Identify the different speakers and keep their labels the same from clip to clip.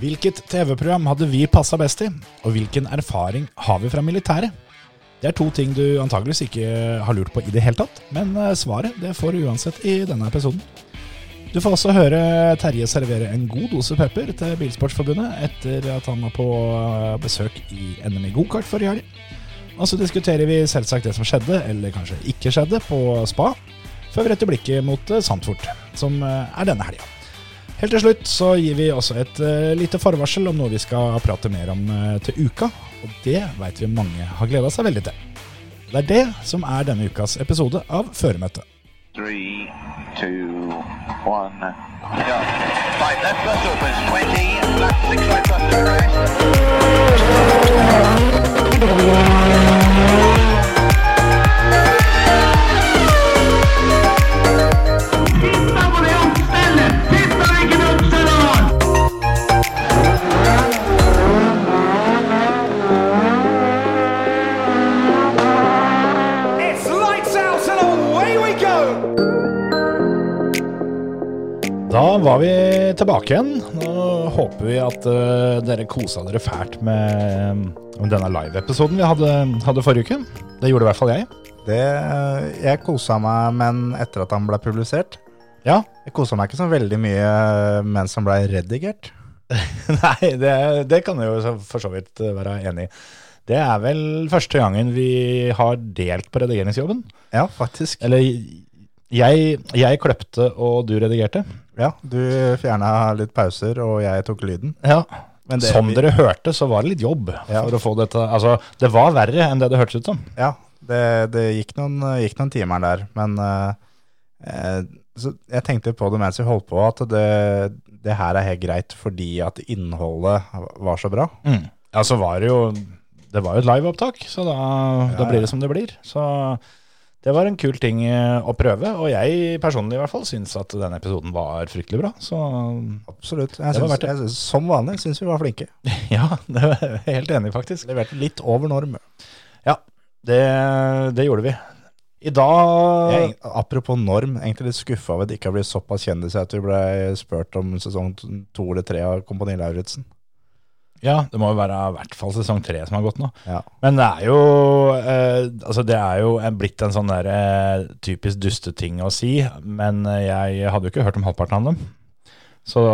Speaker 1: Hvilket TV-program hadde vi passa best i, og hvilken erfaring har vi fra militæret? Det er to ting du antageligvis ikke har lurt på i det hele tatt, men eh, svaret det får du uansett i denne episoden. Du får også høre Terje servere en god dose pepper til Bilsportsforbundet etter at han var på eh, besøk i NM i gokart forrige helg. Og så diskuterer vi selvsagt det som skjedde, eller kanskje ikke skjedde, på spa, før vi retter blikket mot eh, Sandfort, som eh, er denne helga. Helt til slutt så gir vi også et eh, lite forvarsel om noe vi skal prate mer om eh, til uka, og det veit vi mange har gleda seg veldig til. Det er det som er denne ukas episode av Føremøtet.
Speaker 2: Three, two, one, go. Right, left bus opens, 20, left six right bus turn right.
Speaker 3: Pizza på det oppstellet! Pizza er ikke noe oppstelleren!
Speaker 4: It's lights out and away we go!
Speaker 1: Da var vi tilbake igjen. Nå håper vi at eh, dere kosa dere fælt med eh, denne live-episoden vi hadde, hadde forrige uke. Det gjorde i hvert fall jeg.
Speaker 5: Det, eh, jeg kosa meg, men etter at han ble publisert.
Speaker 1: Ja.
Speaker 5: Jeg kosa meg ikke så veldig mye eh, mens han ble redigert.
Speaker 1: Nei, det, det kan jeg jo så- for så vidt eh, være enig i. Det er vel første gangen vi har delt på redigeringsjobben.
Speaker 5: Ja, faktisk.
Speaker 1: Eller jeg, jeg kløpte, og du redigerte.
Speaker 5: Ja, du fjerna litt pauser, og jeg tok lyden.
Speaker 1: Ja.
Speaker 5: Men det-
Speaker 1: som dere hørte, så var det litt jobb
Speaker 5: Ja.
Speaker 1: for å få dette Altså, det var verre enn det det hørtes ut som.
Speaker 5: Ja, det, det gikk, noen, gikk noen timer der, men eh, eh, så jeg tenkte på det mens jeg holdt på, at det, det her er helt greit fordi at innholdet var så bra.
Speaker 1: Ja, så var det jo Det var jo et liveopptak, så da, da blir det som det blir. Så det var en kul ting eh, å prøve, og jeg personlig i hvert fall syns at denne episoden var fryktelig bra. Så
Speaker 5: Absolutt.
Speaker 1: Det
Speaker 5: Jeg
Speaker 1: var
Speaker 5: syns,
Speaker 1: verdt det.
Speaker 5: jeg syns, som vanlig syns vi var flinke.
Speaker 1: ja, det var jeg helt enig, faktisk.
Speaker 5: Leverte litt over norm.
Speaker 1: Ja, det, det gjorde vi. I dag
Speaker 5: Jeg, er- apropos norm, egentlig litt skuffa over at det ikke har blitt såpass kjendis at vi ble spurt om sesong t- to eller tre av Kompani Lauritzen.
Speaker 1: Ja, det må jo være i hvert fall sesong tre som har gått nå.
Speaker 5: Ja.
Speaker 1: Men det er jo eh, Altså, det er jo en- blitt en sånn der eh, typisk dusteting å si, men eh, jeg hadde jo ikke hørt om halvparten av dem. Så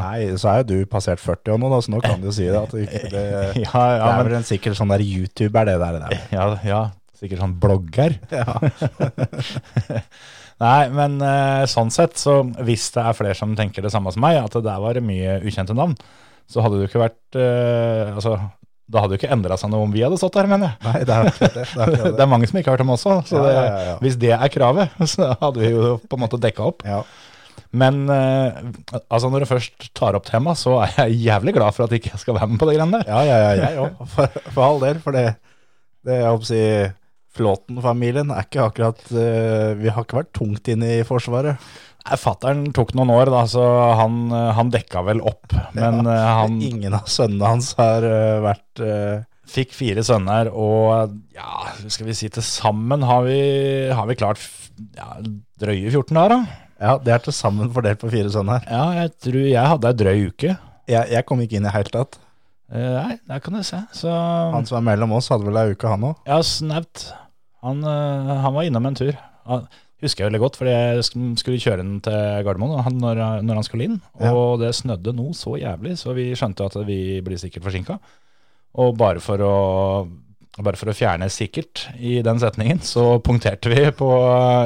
Speaker 5: Nei, så er jo du passert 40 år nå, da, så nå kan du jo si det. At det, ikke- det,
Speaker 1: ja, ja,
Speaker 5: det er
Speaker 1: men,
Speaker 5: vel en sikker sånn der YouTuber, det der. det der.
Speaker 1: ja, ja, sikkert sånn blogger. Nei, men eh, sånn sett, så hvis det er flere som tenker det samme som meg, at det der var mye ukjente navn, så hadde det jo ikke vært eh, Altså, da hadde det jo ikke endra seg noe om vi hadde stått her, mener jeg.
Speaker 5: Nei, det er akkurat det. det, er akkurat
Speaker 1: Det er mange som ikke har hørt om også, så
Speaker 5: Ja,
Speaker 1: det,
Speaker 5: ja, ja, ja.
Speaker 1: hvis det er kravet, så hadde vi jo på en måte dekka opp.
Speaker 5: det. Ja.
Speaker 1: Men eh, altså når du først tar opp tema, så er jeg jævlig glad for at ikke jeg skal være med på det greiene der.
Speaker 5: Ja, ja, ja, jeg òg. For, for all del. For det, det jeg håper å si Flåten-familien er ikke akkurat eh, Vi har ikke vært tungt inne i Forsvaret.
Speaker 1: Nei, Fattern tok noen år, da, så han, eh, han dekka vel opp. Men eh, han
Speaker 5: Ingen av sønnene hans har eh, vært eh,
Speaker 1: fikk fire sønner, og ja, skal vi si til sammen har vi, har vi klart f- ja, drøye 14 dager, da.
Speaker 5: Ja, det er til sammen fordelt på fire sønner.
Speaker 1: Ja, jeg tror jeg hadde ei drøy uke.
Speaker 5: Jeg, jeg kom ikke inn i det hele tatt.
Speaker 1: Eh, nei, der kan du se. Så
Speaker 5: Han som er mellom oss, hadde vel ei uke, han òg.
Speaker 1: Ja, snaut. Han, eh, han var innom en tur. Han, husker jeg veldig godt, fordi jeg sk- skulle kjøre den til Gardermoen og han, når, når han skulle inn. Og det snødde noe så jævlig, så vi skjønte at vi blir sikkert forsinka. Og bare for å bare for å fjerne 'sikkert' i den setningen, så punkterte vi på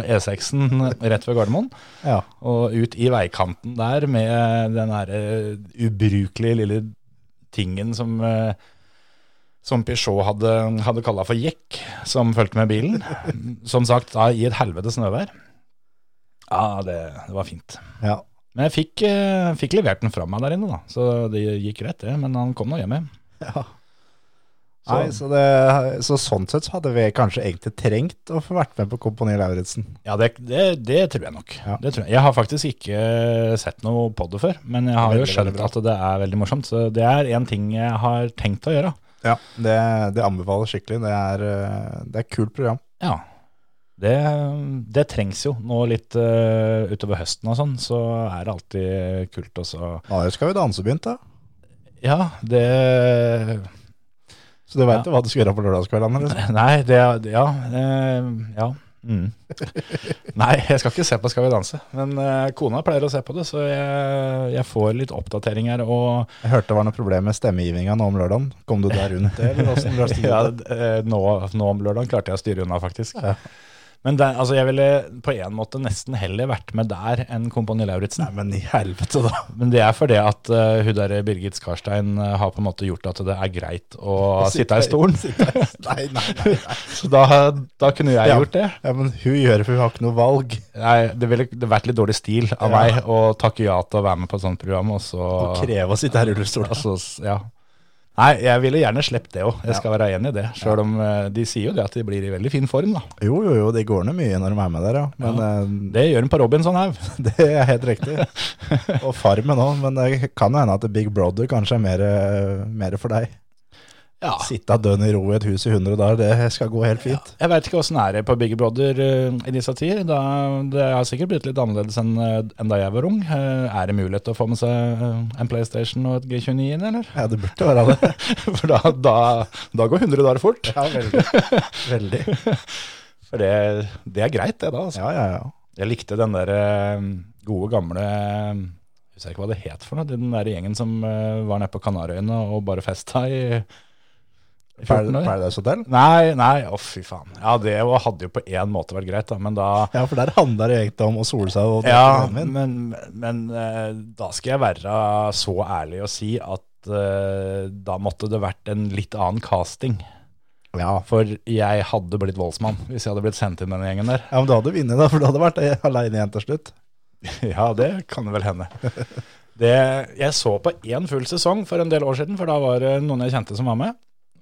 Speaker 1: E6-en rett ved Gardermoen.
Speaker 5: Ja.
Speaker 1: Og ut i veikanten der med den her eh, ubrukelige lille tingen som, eh, som Peugeot hadde, hadde kalla for jekk, som fulgte med bilen. Som sagt, da, i et helvete snøvær. Ja, det, det var fint.
Speaker 5: ja.
Speaker 1: Men jeg fikk, eh, fikk levert den fra meg der inne, da. Så det gikk greit, det. Men han kom nå hjem igjen.
Speaker 5: Så. Nei, så, det, så sånn sett så hadde vi kanskje egentlig trengt å få vært med på Kompani Lauritzen.
Speaker 1: Ja, det, det, det tror jeg nok.
Speaker 5: Ja.
Speaker 1: Det tror jeg. jeg har faktisk ikke sett noe på det før, men jeg har
Speaker 5: Veldig,
Speaker 1: jo skjønt
Speaker 5: veldig bra.
Speaker 1: at det er veldig morsomt. Så det er én ting jeg har tenkt å gjøre.
Speaker 5: Ja. Det, det anbefaler skikkelig. Det er, eh, det er et kult program.
Speaker 1: Ja, det, det trengs jo nå litt eh, utover høsten og sånn, så er det alltid kult også.
Speaker 5: Nå skal jo danse begynt, da.
Speaker 1: Ja, det
Speaker 5: Så du
Speaker 1: Ja.
Speaker 5: veit jo hva du skal gjøre på lørdagskveldene? Liksom.
Speaker 1: Nei, det det- Ja. eh, ja. mm. Nei, jeg skal ikke se på Skal vi danse. Men eh, kona pleier å se på det, så jeg, jeg får litt oppdateringer og
Speaker 5: Jeg hørte det var noe problem med stemmegivinga nå om lørdagen. Kom du der rundt det, eller åssen løste du
Speaker 1: ja,
Speaker 5: det?
Speaker 1: eh, nå, nå om lørdagen klarte jeg å styre unna, faktisk. Men det, altså, jeg ville på en måte nesten heller vært med der enn Kompani Lauritzen.
Speaker 5: Nei, men i helvete, da.
Speaker 1: Men det er fordi at eh, hun der Birgit Skarstein eh, har på en måte gjort at det er greit å, sitte i stolen.
Speaker 5: Nei, nei, nei. nei.
Speaker 1: Så da, da kunne jeg
Speaker 5: Ja.
Speaker 1: gjort det.
Speaker 5: Ja, men hun gjør det, for hun har ikke noe valg.
Speaker 1: Nei, det ville det vært litt dårlig stil av
Speaker 5: Ja.
Speaker 1: meg å takke ja til å være med på et sånt program, og så
Speaker 5: Å kreve å sitte her i rullestol.
Speaker 1: altså, s- ja. Nei, jeg ville gjerne sluppet det òg. Jeg skal være enig i det. Sjøl om eh, de sier jo det at de blir i veldig fin form, da.
Speaker 5: Jo, jo, jo, det går ned mye når de er med der, ja. Men eh,
Speaker 1: Det gjør hun på Robinson Haug.
Speaker 5: det er helt riktig. Og Farmen òg, men det kan jo hende at Big Brother kanskje er mer, eh, mer for deg.
Speaker 1: Ja.
Speaker 5: Sitte dønn i ro i et hus i 100 dager, det skal gå helt fint.
Speaker 1: Jeg veit ikke åssen er det på Big Brother eh, i disse tider. Da, det har sikkert blitt litt annerledes enn eh, enn da jeg var ung. Eh, er det mulighet til å få med seg eh, en PlayStation og et G29 inn, eller?
Speaker 5: Ja, det burde være det.
Speaker 1: For da, da, da går 100 dager fort.
Speaker 5: Ja, veldig. veldig.
Speaker 1: For det, det er greit, det da. Altså.
Speaker 5: Ja, ja, ja.
Speaker 1: Jeg likte den der eh, gode gamle eh, jeg husker ikke hva det het for noe, den der gjengen som eh, var nede på Kanarøyene og bare festa i, i 14 år.
Speaker 5: Paradise Hotel?
Speaker 1: Nei, nei, å fy faen. Ja, det jo- hadde jo på én måte vært greit, da, men da
Speaker 5: Ja, for der handler det egentlig om å sole seg og drikke
Speaker 1: Ja,
Speaker 5: brennevin.
Speaker 1: men, men eh, da skal jeg være så ærlig og si at eh, da måtte det vært en litt annen casting.
Speaker 5: Ja.
Speaker 1: For jeg hadde blitt voldsmann hvis jeg hadde blitt sendt inn den gjengen der.
Speaker 5: ja, men du hadde vunnet, da, for du hadde vært aleine igjen til slutt.
Speaker 1: Ja, det kan det vel hende. Det, jeg så på én full sesong for en del år siden, for da var det noen jeg kjente som var med.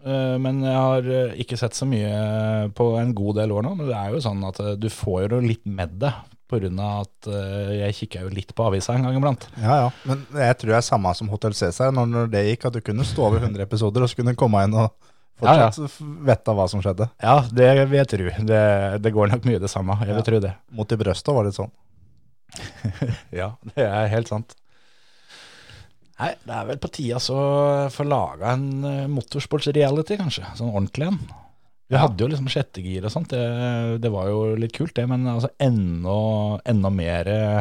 Speaker 1: Eh, Men jeg har eh, ikke sett så mye eh, på en god del år nå. Men det er jo sånn at eh, du får jo litt med det, pga. at eh, jeg kikker jo litt på avisa en gang iblant.
Speaker 5: Ja, ja. Men jeg tror det er samme som Hotel Cæsar, når, når det gikk, at du kunne stå over 100 episoder, og så kunne du komme inn og
Speaker 1: Ja,
Speaker 5: fortsatt f- vette hva som skjedde.
Speaker 1: Ja, det vil jeg tro. Det, det går nok mye det samme. Jeg vil
Speaker 5: Ja.
Speaker 1: tro det.
Speaker 5: Mot i brøstet var det sånn.
Speaker 1: Ja, det er helt sant. Nei, det er vel på tide altså å få laga en eh, motorsportsreality, kanskje. Sånn ordentlig en. Vi hadde jo liksom sjettegir og sånt. Det, det var jo litt kult, det. Men altså enda, enda mer eh,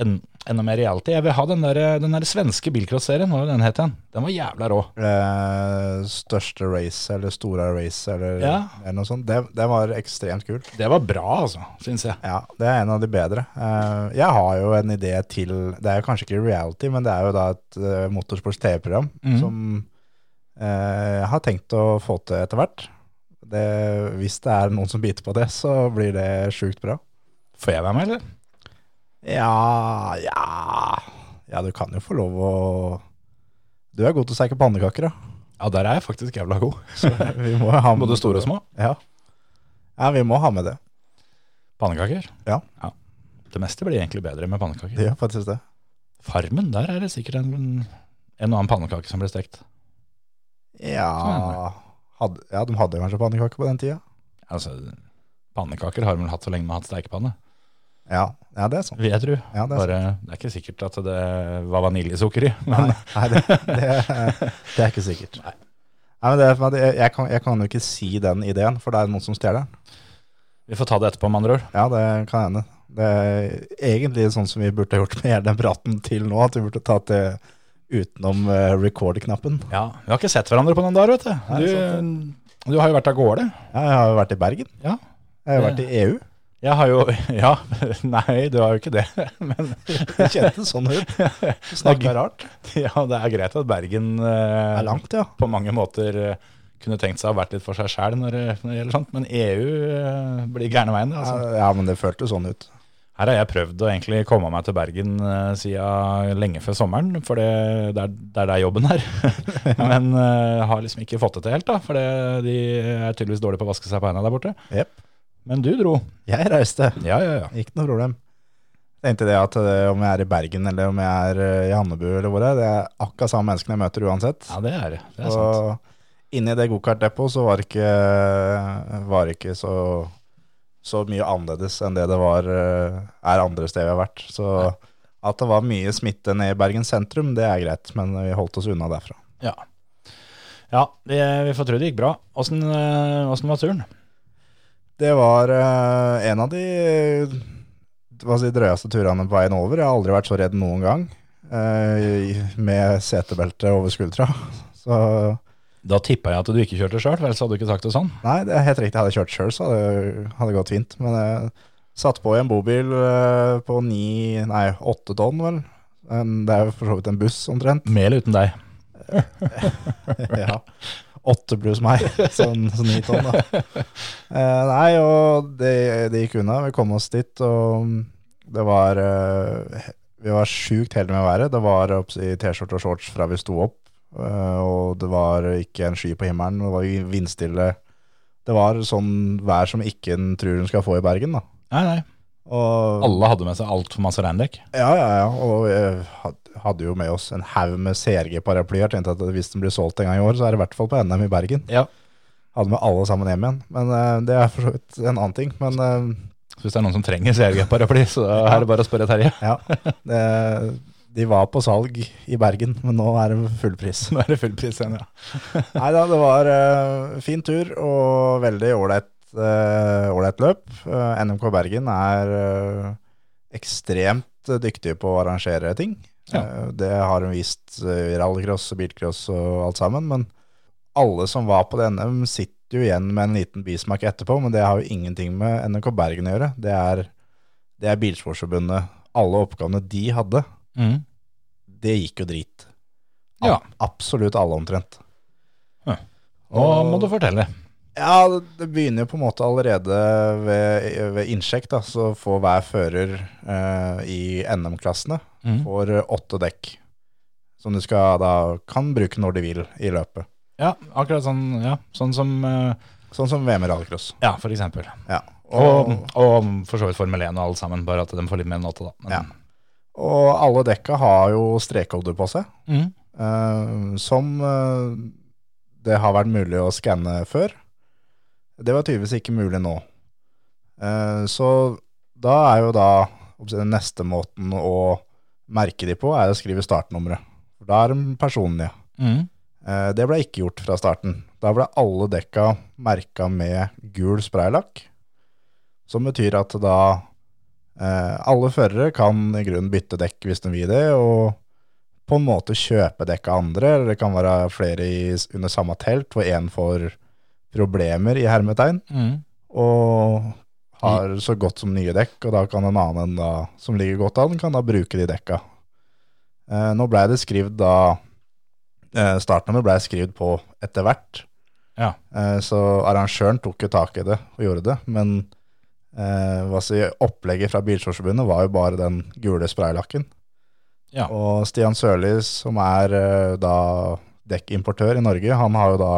Speaker 1: en, Enda mer reality. Jeg vil ha den der, eh, den der svenske bilcross-serien, hva var den het igjen? Den var jævla rå.
Speaker 5: Eh, største race, eller store race, eller,
Speaker 1: Ja.
Speaker 5: eller noe sånt. Det, det var ekstremt kult.
Speaker 1: Det var bra, altså, syns jeg.
Speaker 5: Ja, det er en av de bedre. Eh, jeg har jo en idé til Det er jo kanskje ikke reality, men det er jo da et eh, motorsports TV-program
Speaker 1: Mhm.
Speaker 5: som eh, jeg har tenkt å få til etter hvert. Det, hvis det er noen som biter på det, så blir det sjukt bra.
Speaker 1: Får jeg være med, eller?
Speaker 5: Ja, ja Ja, du kan jo få lov å Du er god til å steike pannekaker, da.
Speaker 1: Ja, der er jeg faktisk jævla god.
Speaker 5: Så vi må jo ha med
Speaker 1: Både store og små.
Speaker 5: Ja. ja, vi må ha med det.
Speaker 1: Pannekaker?
Speaker 5: Ja.
Speaker 1: Det meste blir egentlig bedre med pannekaker.
Speaker 5: Det gjør faktisk det.
Speaker 1: Farmen, der er det sikkert en, en og annen pannekake som blir stekt.
Speaker 5: Ja, hadde, ja de hadde kanskje pannekaker på den tida?
Speaker 1: Altså, pannekaker har vi vel hatt så lenge vi har hatt steikepanne,
Speaker 5: Ja, ja det er sånn.
Speaker 1: vil jeg tro.
Speaker 5: Ja, det er
Speaker 1: Bare, det er ikke sikkert at det var vaniljesukker i, men
Speaker 5: Nei, nei det, det, er- det er ikke sikkert. Nei. men det, er for at jeg, jeg, kan, jeg kan jo ikke si den ideen, for det er noen som stjeler den.
Speaker 1: vi får ta det etterpå, med andre ord.
Speaker 5: Ja, det kan hende. Det er egentlig sånn som vi burde gjort med hele den praten til nå, at vi burde tatt det utenom eh, record-knappen.
Speaker 1: Ja, vi har ikke sett hverandre på noen dager, vet
Speaker 5: Nei,
Speaker 1: du. Du, du har jo vært av gårde.
Speaker 5: Ja, jeg har jo vært i Bergen.
Speaker 1: Ja.
Speaker 5: Jeg har jo vært i E EU.
Speaker 1: Jeg har jo Ja, nei, du har jo ikke det. Men
Speaker 5: Det kjentes sånn ut. Snakka rart.
Speaker 1: ja, det er greit at Bergen eh,
Speaker 5: Det er langt, ja.
Speaker 1: på mange måter eh, kunne tenkt seg å ha vært litt for seg sjæl når, det- når det gjelder sånt, men EU eh, blir gærne veien. det, Altså.
Speaker 5: Ja, men det føltes sånn ut.
Speaker 1: Her har jeg prøvd å egentlig komme meg til Bergen eh, siden lenge før sommeren, for det, det, er, det er der jobben er. men eh, har liksom ikke fått det til helt, da, for det, de er tydeligvis dårlige på å vaske seg på hendene der borte.
Speaker 5: Jep.
Speaker 1: Men du dro.
Speaker 5: Jeg reiste.
Speaker 1: Ja, ja, ja.
Speaker 5: Ikke noe problem. Tenkte det at eh, om jeg er i Bergen eller om jeg er eh, i Hannebu eller hvor det er, det er akkurat samme menneskene jeg møter uansett.
Speaker 1: Ja, det er det. Det er sant.
Speaker 5: Og inni det gokartdepot så var det ikke, var det ikke så, så mye annerledes enn det det var, eh, er andre steder jeg har vært. Så At det var mye smitte ned i Bergen sentrum, det er greit, men vi holdt oss unna derfra.
Speaker 1: Ja, ja vi, vi får tro det gikk bra. Åssen eh, åssen var turen?
Speaker 5: Det var eh, en av de eh, hva skal jeg si, drøyeste turene på veien over. Jeg har aldri vært så redd noen gang eh, i- med setebelte over skuldra. Så
Speaker 1: Da tippa jeg at du ikke kjørte sjøl, ellers hadde du ikke sagt det sånn.
Speaker 5: nei, det er helt riktig. Hadde jeg kjørt sjøl, så hadde hadde det gått fint. Men jeg satte på i en bobil eh, på ni, nei, åtte tonn, vel. En- Det er jo for så vidt en buss, omtrent.
Speaker 1: Med eller uten deg.
Speaker 5: ja. Åtte pluss meg, sånn sånn ni tonn, da. Eh, nei, og det, det gikk unna. Vi kom oss dit, og det var eh, Vi var sjukt heldige med været. Det var opp i T-skjorte og shorts fra vi sto opp, eh, og det var ikke en sky på himmelen. Det var jo vindstille. Det var sånn vær som ikke en tror hun skal få i Bergen, da.
Speaker 1: Nei, nei.
Speaker 5: Og,
Speaker 1: Alle hadde med seg altfor masse reindekk.
Speaker 5: ja, ja, ja. Og jeg had- hadde jo med oss en haug med CRG-paraplyer. Tenkte at hvis den blir solgt en gang i år, så er det i hvert fall på NM i Bergen.
Speaker 1: Ja.
Speaker 5: Hadde med alle sammen hjem igjen. Men eh, det er for så vidt en annen ting. Men eh,
Speaker 1: Så hvis det er noen som trenger CRG-paraply, så er det bare å spørre Terje.
Speaker 5: ja, det, de var på salg i Bergen, men nå er det full pris.
Speaker 1: Nå er det full pris igjen, ja.
Speaker 5: Nei da, det var eh, fin tur og veldig ålreit eh, ålreit løp. Eh, NMK Bergen er eh, ekstremt dyktige på å arrangere ting.
Speaker 1: Ja.
Speaker 5: Eh, det har hun vist eh, i rallycross og bilcross og alt sammen. Men alle som var på det NM, sitter jo igjen med en liten bismak etterpå. Men det har jo ingenting med NMK Bergen å gjøre. Det er, det er Bilsportsforbundet. Alle oppgavene de hadde,
Speaker 1: Mm.
Speaker 5: det gikk jo drit.
Speaker 1: Ja.
Speaker 5: Absolutt alle, omtrent.
Speaker 1: Ja. Nå må du fortelle.
Speaker 5: Ja, det- det begynner jo på en måte allerede ved, ved innsjekk, da. Så får hver fører eh, i NM-klassene
Speaker 1: Mm.
Speaker 5: får eh, åtte dekk. Som du skal da kan bruke når de vil i løpet.
Speaker 1: Ja, akkurat sånn, ja. sånn som eh,
Speaker 5: Sånn som VM i rallycross.
Speaker 1: Ja, for eksempel.
Speaker 5: Ja.
Speaker 1: Og, mm.
Speaker 5: Og,
Speaker 1: og for så vidt Formel 1 og alt sammen, bare at de får litt mer enn åtte, da. Men,
Speaker 5: ja. og alle dekka har jo strekkoder på seg,
Speaker 1: Mm.
Speaker 5: eh, som eh, det har vært mulig å skanne før. Det var tydeligvis ikke mulig nå. Eh, så da er jo da hva skal jeg si, den neste måten å merke de på, er å skrive startnummeret. Da er de personlige.
Speaker 1: Mm.
Speaker 5: Eh, Det ble ikke gjort fra starten. Da ble alle dekka merka med gul spraylakk, som betyr at da eh, alle førere kan i grunnen bytte dekk hvis de vil det, og på en måte kjøpe dekk av andre, eller det kan være flere i, under samme telt, hvor én får problemer i hermetegn,
Speaker 1: Mm.
Speaker 5: og har så godt som nye dekk, og da kan en annen enn da, som ligger godt an, kan da bruke de dekka. Eh, nå ble det skrevet da eh, Startnummeret ble skrevet på etter hvert,
Speaker 1: Ja.
Speaker 5: eh, så arrangøren tok jo tak i det og gjorde det, men eh, hva skal jeg si, opplegget fra Bilsportsforbundet var jo bare den gule spraylakken.
Speaker 1: Ja.
Speaker 5: Og Stian Sørli, som er eh, da dekkimportør i Norge, han har jo da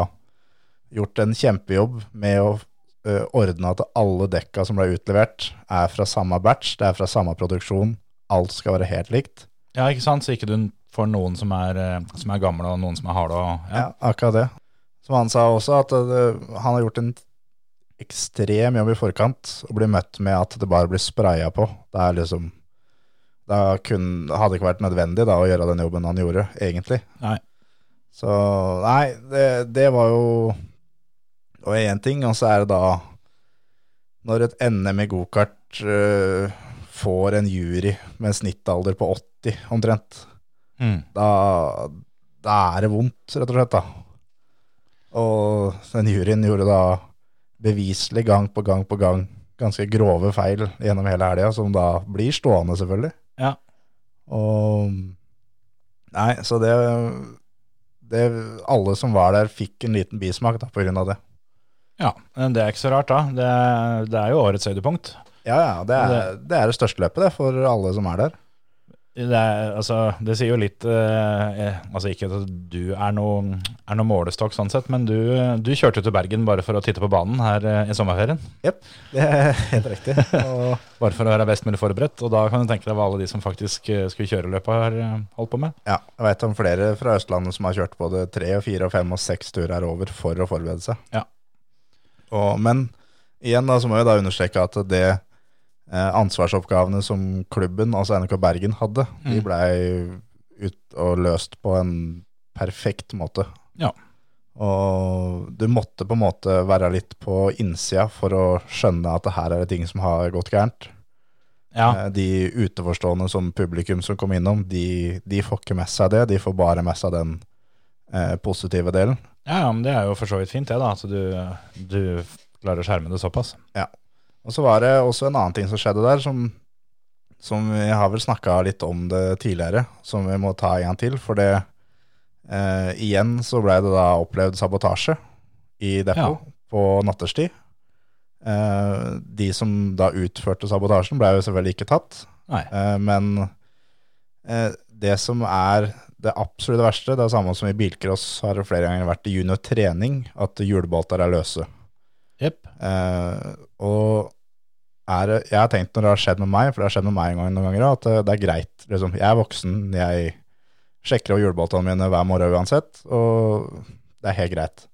Speaker 5: gjort en kjempejobb med å eh, ordne at alle dekka som ble utlevert, er fra samme batch, det er fra samme produksjon. Alt skal være helt likt.
Speaker 1: ja, ikke sant? Så ikke du får noen som er, eh, som er gamle, og noen som er harde. Og, ja.
Speaker 5: Ja, akkurat det. Som han sa også, at det, han har gjort en ekstrem jobb i forkant, og blir møtt med at det bare blir spraya på. Det er liksom Det kun, hadde ikke vært nødvendig da, å gjøre den jobben han gjorde, egentlig.
Speaker 1: Nei.
Speaker 5: Så Nei, det, det var jo Og én ting, og så er det da Når et NM i gokart øh, får en jury med en snittalder på 80, omtrent
Speaker 1: Mm.
Speaker 5: da, da er det vondt, rett og slett. da. Og den juryen gjorde da beviselig gang på gang på gang ganske grove feil gjennom hele helga, som da blir stående, selvfølgelig.
Speaker 1: Ja.
Speaker 5: Og Nei, så det, det Alle som var der, fikk en liten bismak da, på grunn av det.
Speaker 1: ja, men det er ikke så rart, da. Det, er- det er jo årets høydepunkt.
Speaker 5: Ja, ja. Det er det, er det største løpet, det, for alle som er der.
Speaker 1: Det, er, altså, det sier jo litt eh, eh, Altså ikke at du er noe, er noe målestokk sånn sett, men du, du kjørte til Bergen bare for å titte på banen her eh, i sommerferien.
Speaker 5: Jepp, det er helt riktig. Og
Speaker 1: Bare for å være best mulig forberedt. Og da kan du tenke deg hva alle de som faktisk eh, skulle kjøre løpet, har eh, holdt på med.
Speaker 5: Ja, jeg vet om flere fra Østlandet som har kjørt både tre og fire og fem og seks turer over for å forberede seg.
Speaker 1: Ja.
Speaker 5: Og, men igjen da, så må jeg da understreke at det, eh, ansvarsoppgavene som klubben, altså NRK Bergen, hadde,
Speaker 1: Mm.
Speaker 5: de blei ut og løst på en perfekt måte.
Speaker 1: Ja.
Speaker 5: Og du måtte på en måte være litt på innsida for å skjønne at det her er det ting som har gått gærent.
Speaker 1: Ja.
Speaker 5: Eh, De utenforstående som publikum som kom innom, de, de får ikke med seg det. De får bare med seg den eh, positive delen.
Speaker 1: Ja, ja, men det er jo for så vidt fint det, da. At du, du klarer å skjerme det såpass.
Speaker 5: Og så var det også en annen ting som skjedde der, som, som jeg har vel snakka litt om det tidligere, som vi må ta en gang til. For det eh, igjen så ble det da opplevd sabotasje i depot på nattestid. Eh, de som da utførte sabotasjen, ble jo selvfølgelig ikke tatt.
Speaker 1: Nei.
Speaker 5: Eh, men eh, det som er det absolutt verste, det er samme som i bilcross har det flere ganger vært i juniortrening, at hjulbåter er løse.
Speaker 1: Jepp.
Speaker 5: Eh, og er, det- jeg har tenkt når det har skjedd med meg, for det har skjedd med meg en gang, noen ganger, at det, det er greit. Liksom, jeg er voksen, jeg sjekker over hjulbåtene mine hver morgen uansett, og det er helt greit.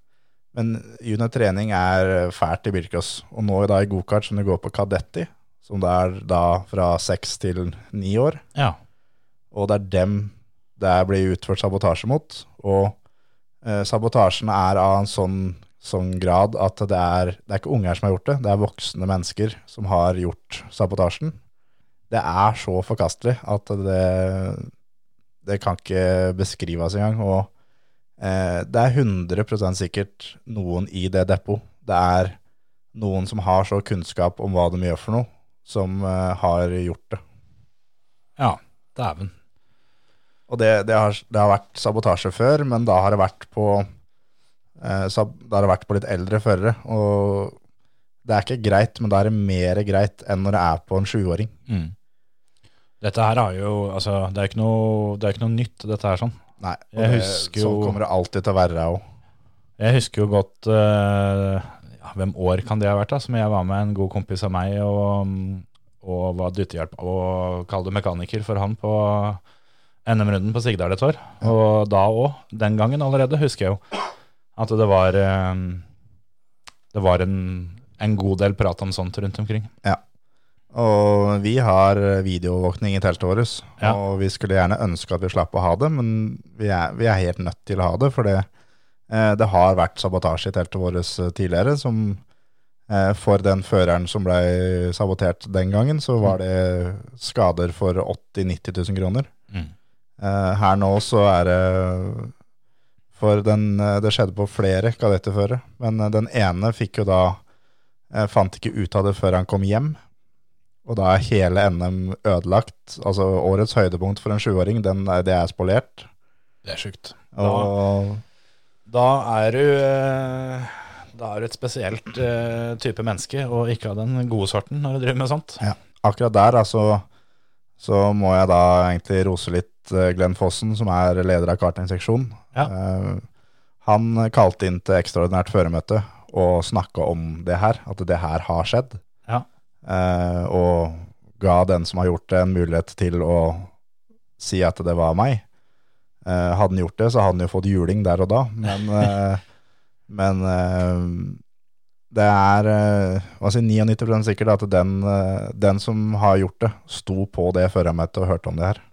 Speaker 5: Men junior trening er fælt i bilcross, og nå da i gokart som du går på kadett i, som det er da fra seks til ni år,
Speaker 1: Ja.
Speaker 5: og det er dem det blir utført sabotasje mot. Og eh, sabotasjen er av en sånn, sånn grad at det er, det er ikke unger som har gjort det, det er voksne mennesker som har gjort sabotasjen. Det er så forkastelig at det, det kan ikke beskrives engang. Og eh, det er 100 sikkert noen i det depot. Det er noen som har så kunnskap om hva de gjør for noe, som eh, har gjort det.
Speaker 1: Ja. Dæven.
Speaker 5: Og det, det, har, det har vært sabotasje før, men da har det vært på eh, sab, Da har det vært på litt eldre førere. Og det er ikke greit, men da er det mer greit enn når det er på en sjuåring.
Speaker 1: Mm. Dette her har jo Altså, det er jo ikke noe, det er ikke noe nytt, dette her sånn.
Speaker 5: Nei, og
Speaker 1: Jeg
Speaker 5: det-
Speaker 1: husker
Speaker 5: Sånn
Speaker 1: jo-
Speaker 5: kommer det alltid til å være òg.
Speaker 1: Jeg husker jo godt eh, ja, Hvem år kan det ha vært, da? Som jeg var med en god kompis av meg og, og var dyttehjelp og kall det mekaniker for han på NM-runden på Sigdal et år. Og da òg, den gangen allerede, husker jeg jo at det var eh, Det var en, en god del prat om sånt rundt omkring.
Speaker 5: Og vi har videovåkning i teltet vårt,
Speaker 1: Ja.
Speaker 5: og vi skulle gjerne ønske at vi slapp å ha det, men vi er, vi er helt nødt til å ha det, for det, eh, det har vært sabotasje i teltet vårt tidligere, som eh, for den føreren som ble sabotert den gangen, så var det skader for 80 000-90 000 kroner.
Speaker 1: Mm.
Speaker 5: Eh, her nå så er det For den, eh, det skjedde på flere kadetterførere, men eh, den ene fikk jo da eh, Fant ikke ut av det før han kom hjem. Og da er hele NM ødelagt. Altså årets høydepunkt for en sjuåring, den er- det er spolert.
Speaker 1: Det er sjukt.
Speaker 5: Og
Speaker 1: Da er du eh, Da er du et spesielt eh, type menneske, og ikke av den gode sorten når du driver med sånt.
Speaker 5: akkurat der, altså, så må jeg da egentlig rose litt eh, Glenn Fossen, som er leder av kartingseksjonen.
Speaker 1: Ja.
Speaker 5: Eh, Han kalte inn til ekstraordinært føremøte og snakka om det her, at det her har skjedd.
Speaker 1: Ja.
Speaker 5: Eh, og ga den som har gjort det, en mulighet til å si at det var meg. Eh, hadde han gjort det, så hadde han jo fått juling der og da, men, eh, men eh, det er eh, hva sier, 99 sikkert at den, eh, den som har gjort det, sto på det førermøtet og hørte om det her.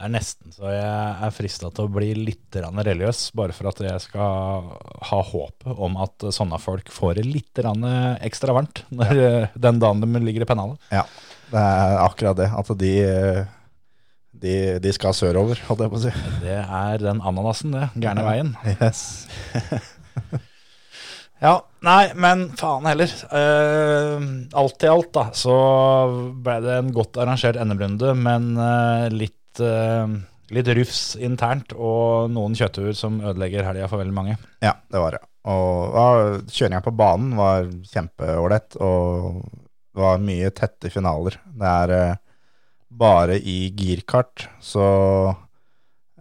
Speaker 1: Det er nesten så jeg er frista til å bli litt grann religiøs, bare for at jeg skal ha håpet om at sånne folk får det litt grann ekstra varmt når, eh, den dagen de ligger i pennalet.
Speaker 5: Det er akkurat det. At de, eh, de, de skal sørover, holdt jeg på å si.
Speaker 1: Det er den ananasen, det. Gærne veien.
Speaker 5: Yes.
Speaker 1: Ja, nei, men faen heller. Eh, alt i alt, da, så ble det en godt arrangert NM-runde, men eh, litt, eh, litt rufs internt, og noen kjøttuer som ødelegger helga for veldig mange.
Speaker 5: Ja, det var det. Og ja, kjøringa på banen var kjempeålreit, og det var mye tette finaler. Det er eh, bare i girkart, så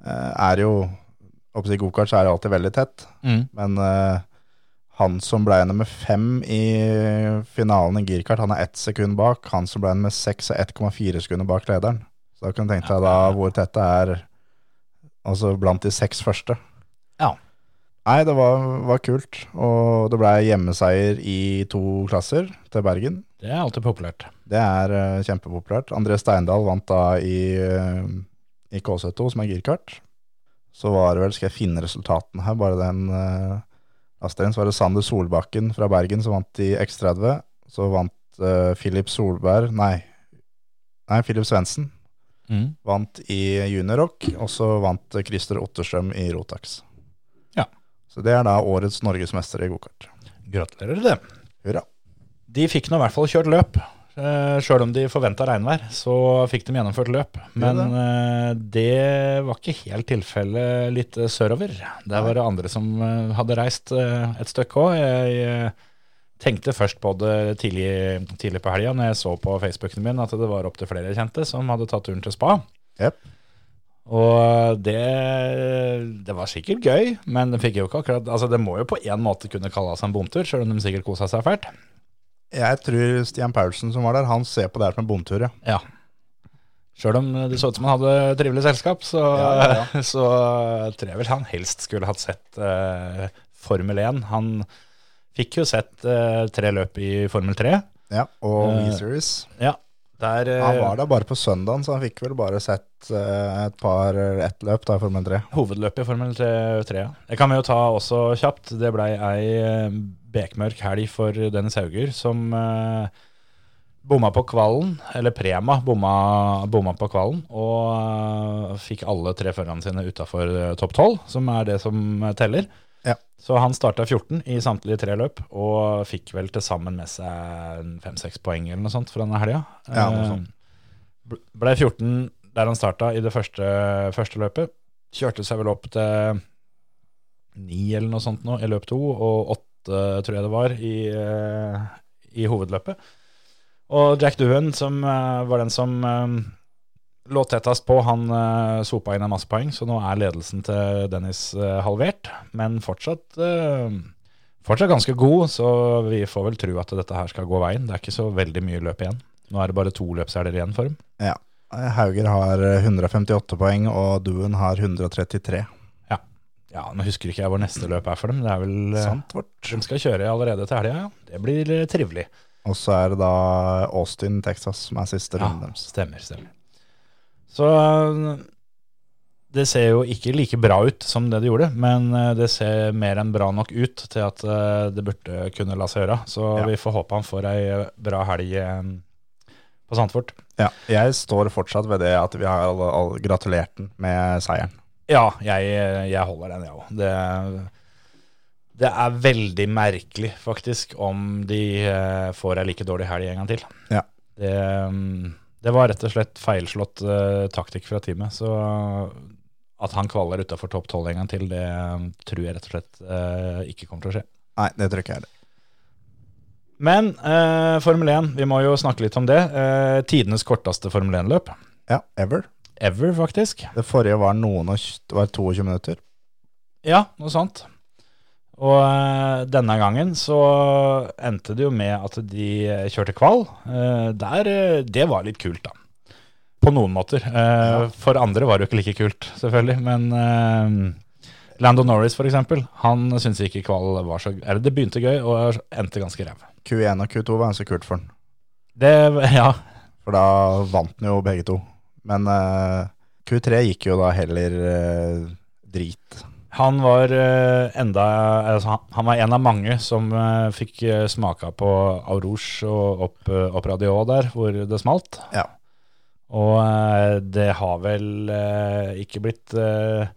Speaker 5: eh, er det jo Oppe i gokart så er det alltid veldig tett.
Speaker 1: Mm.
Speaker 5: Men eh, han som ble nummer fem i finalen i girkart, han er ett sekund bak. Han som ble nummer seks er 1,4 sekunder bak lederen. Så da kan du tenke deg da hvor tett det er altså blant de seks første.
Speaker 1: Ja.
Speaker 5: Nei, det var, var kult. Og det ble hjemmeseier i to klasser til Bergen.
Speaker 1: Det er alltid populært.
Speaker 5: Det er eh, kjempepopulært. André Steindal vant da i, eh, i K72, som er girkart. Så var det vel, skal jeg finne resultatene her, bare den eh, Astrid, så var det Sander Solbakken fra Bergen som vant i X30. Så vant eh, Philip Solberg, nei, nei Philip Svendsen
Speaker 1: Mm.
Speaker 5: vant i juniorrock, og så vant eh, Christer Otterstrøm i Rotax.
Speaker 1: Ja.
Speaker 5: Så det er da årets norgesmester i gokart.
Speaker 1: Gratulerer til dem.
Speaker 5: Hurra.
Speaker 1: De fikk nå i hvert fall kjørt løp. Eh, Sjøl om de forventa regnvær, så fikk de gjennomført løp. Men eh, det var ikke helt tilfellet litt eh, sørover. Der var det andre som eh, hadde reist eh, et stykke òg. Jeg eh, tenkte først på det tidlig, tidlig på helga når jeg så på Facebooken min at det var opptil flere jeg kjente som hadde tatt turen til spa.
Speaker 5: Jep.
Speaker 1: Og eh, det, det var sikkert gøy, men det, fikk jo ikke akkurat, altså det må jo på en måte kunne kalles en bomtur, sjøl om de sikkert kosa seg fælt.
Speaker 5: Jeg tror Stian Paulsen som var der, han ser på det her som en bomtur, ja.
Speaker 1: Ja. Sjøl om det så ut som han hadde trivelig selskap, så,
Speaker 5: Ja, ja,
Speaker 1: så tror jeg vel han helst skulle hatt sett eh, Formel 1. Han fikk jo sett eh, tre løp i Formel 3.
Speaker 5: ja og
Speaker 1: Eh,
Speaker 5: E-Series.
Speaker 1: Ja, der eh,
Speaker 5: Han var der bare på søndagen, så han fikk vel bare sett eh, et par ett løp da i Formel 3.
Speaker 1: hovedløpet i Formel 3. 3 ja. Det kan vi jo ta også kjapt. Det blei ei eh, bekmørk helg for Dennis Hauger, som eh, bomma på kvalen, eller Prema bomma, bomma på kvalen, og eh, fikk alle tre førerne sine utafor eh, topp 12, som er det som eh, teller.
Speaker 5: Ja.
Speaker 1: Så han starta 14 i samtlige tre løp, og fikk vel til sammen med seg en fem-seks poeng eller noe sånt fra denne helga.
Speaker 5: Ja, noe sånt.
Speaker 1: Bl- Ble 14 der han starta i det første, første løpet. Kjørte seg vel opp til ni eller noe sånt nå i løp to, og åtte tror jeg det var i, eh, i hovedløpet. Og Jack Doohan, som eh, var den som eh, lå tettest på, han eh, sopa inn en masse poeng, så nå er ledelsen til Dennis eh, halvert, men fortsatt eh, Fortsatt ganske god, så vi får vel tro at dette her skal gå veien. Det er ikke så veldig mye løp igjen. Nå er det bare to løpshelger igjen for dem.
Speaker 5: Eh, Hauger har 158 poeng, og Duen har 133.
Speaker 1: Ja, nå husker ikke jeg hvor neste løp er for dem. Det er vel eh,
Speaker 5: Sant vårt.
Speaker 1: De skal kjøre allerede til helga, ja. Det blir eh, trivelig.
Speaker 5: Og så er det da Austin, Texas, som er siste
Speaker 1: Ja,
Speaker 5: runden deres.
Speaker 1: stemmer, stemmer. Så eh, det ser jo ikke like bra ut som det det gjorde, men eh, det ser mer enn bra nok ut til at eh, det burde kunne la seg gjøre. Så
Speaker 5: Ja.
Speaker 1: vi får håpe han får ei eh, bra helg eh, på Sandfort.
Speaker 5: Ja, jeg står fortsatt ved det at vi har all, all, gratulert den med seieren.
Speaker 1: Ja, jeg, jeg holder den, jeg òg. Det, det er veldig merkelig, faktisk, om de eh, får ei like dårlig helg en gang til.
Speaker 5: Ja.
Speaker 1: Det, mm, det var rett og slett feilslått eh, taktikk fra teamet. Så at han kvaler utafor topp tolv en gang til, det mm, tror jeg rett og slett eh, ikke kommer til å skje.
Speaker 5: Nei, det tror ikke jeg heller.
Speaker 1: Men eh, Formel 1, vi må jo snakke litt om det. Eh, tidenes korteste Formel 1-løp
Speaker 5: Ja, ever.
Speaker 1: ever, faktisk.
Speaker 5: Det forrige var noen og tj- det var 22 minutter.
Speaker 1: Ja, noe sånt. Og eh, denne gangen så endte det jo med at de eh, kjørte kval. Eh, der, eh, det var litt kult, da. På noen måter. Eh, For andre var det jo ikke like kult, selvfølgelig. Men eh, Lando Norris, for eksempel, han syntes ikke kval var så Eller det begynte gøy og endte ganske ræv.
Speaker 5: Q1 og Q2 var ganske kult for den.
Speaker 1: Det, ja,
Speaker 5: For da vant den jo begge to. Men eh, Q3 gikk jo da heller eh, drit.
Speaker 1: Han var eh, enda altså, han- Han var en av mange som eh, fikk eh, smaka på Aurouge og opp, eh, opp radio der, hvor det smalt.
Speaker 5: Ja.
Speaker 1: Og eh, det har vel eh, ikke blitt eh,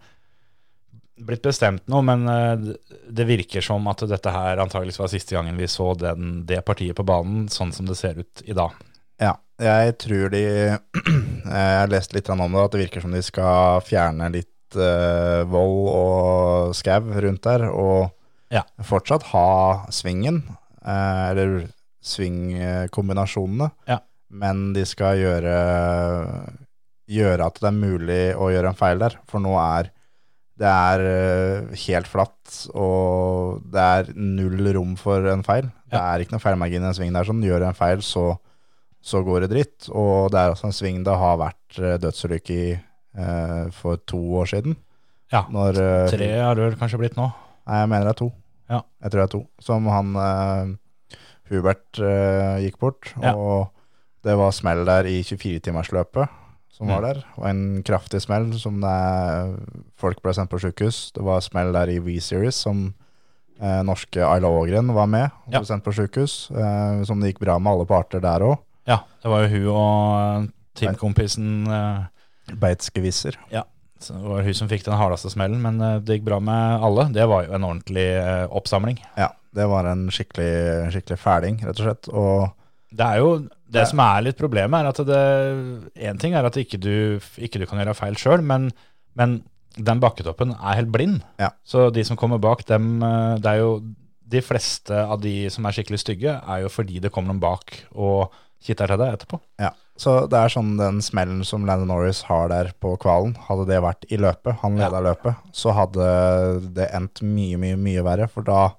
Speaker 1: blitt bestemt noe, men eh, det virker som at dette her antageligvis var siste gangen vi så den, det partiet på banen, sånn som det ser ut i dag.
Speaker 5: Ja, jeg tror de Jeg har lest litt grann om det, at det virker som de skal fjerne litt eh, vold og skau rundt der, og
Speaker 1: Ja.
Speaker 5: fortsatt ha svingen, eh, eller svingkombinasjonene,
Speaker 1: Ja.
Speaker 5: men de skal gjøre, gjøre at det er mulig å gjøre en feil der, for nå er det er eh, helt flatt, og det er null rom for en feil. Det er ikke noen feilmargin i en sving der, som gjør en feil, så så går det dritt. Og det er også en sving det har vært eh, dødsulykke i eh, for to år siden.
Speaker 1: Ja,
Speaker 5: Når, eh,
Speaker 1: Tre har det vel kanskje blitt nå.
Speaker 5: Nei, jeg mener det er to.
Speaker 1: Ja.
Speaker 5: Jeg tror det er to. Som han eh, Hubert eh, gikk bort.
Speaker 1: Ja.
Speaker 5: Og Det var smell der i 24-timersløpet som var
Speaker 1: Mm.
Speaker 5: der. Og en kraftig smell som det er, folk ble sendt på sykehus. Det var smell der i V-Series som eh, norske Ayla Ågren var med og
Speaker 1: Ja.
Speaker 5: ble sendt på sykehus. Eh, som det gikk bra med alle parter der òg.
Speaker 1: Ja, det var jo hun og eh, teamkompisen eh,
Speaker 5: Beitsgevisser.
Speaker 1: så Det var hun som fikk den hardeste smellen, men eh, det gikk bra med alle. Det var jo en ordentlig eh, oppsamling.
Speaker 5: Ja, det var en skikkelig, skikkelig fæling, rett og slett. Og
Speaker 1: Det er jo det
Speaker 5: Ja.
Speaker 1: som er litt problemet, er at det En ting er at ikke du, ikke du kan gjøre feil sjøl, men, men den bakketoppen er helt blind.
Speaker 5: Ja.
Speaker 1: Så de som kommer bak dem eh, Det er jo de fleste av de som er skikkelig stygge, er jo fordi det kommer noen bak og kitter til deg etterpå.
Speaker 5: Ja, så det er sånn den smellen som Landon Norris har der på kvalen, hadde det vært i løpet, han leda løpet, så hadde det endt mye, mye, mye verre, for da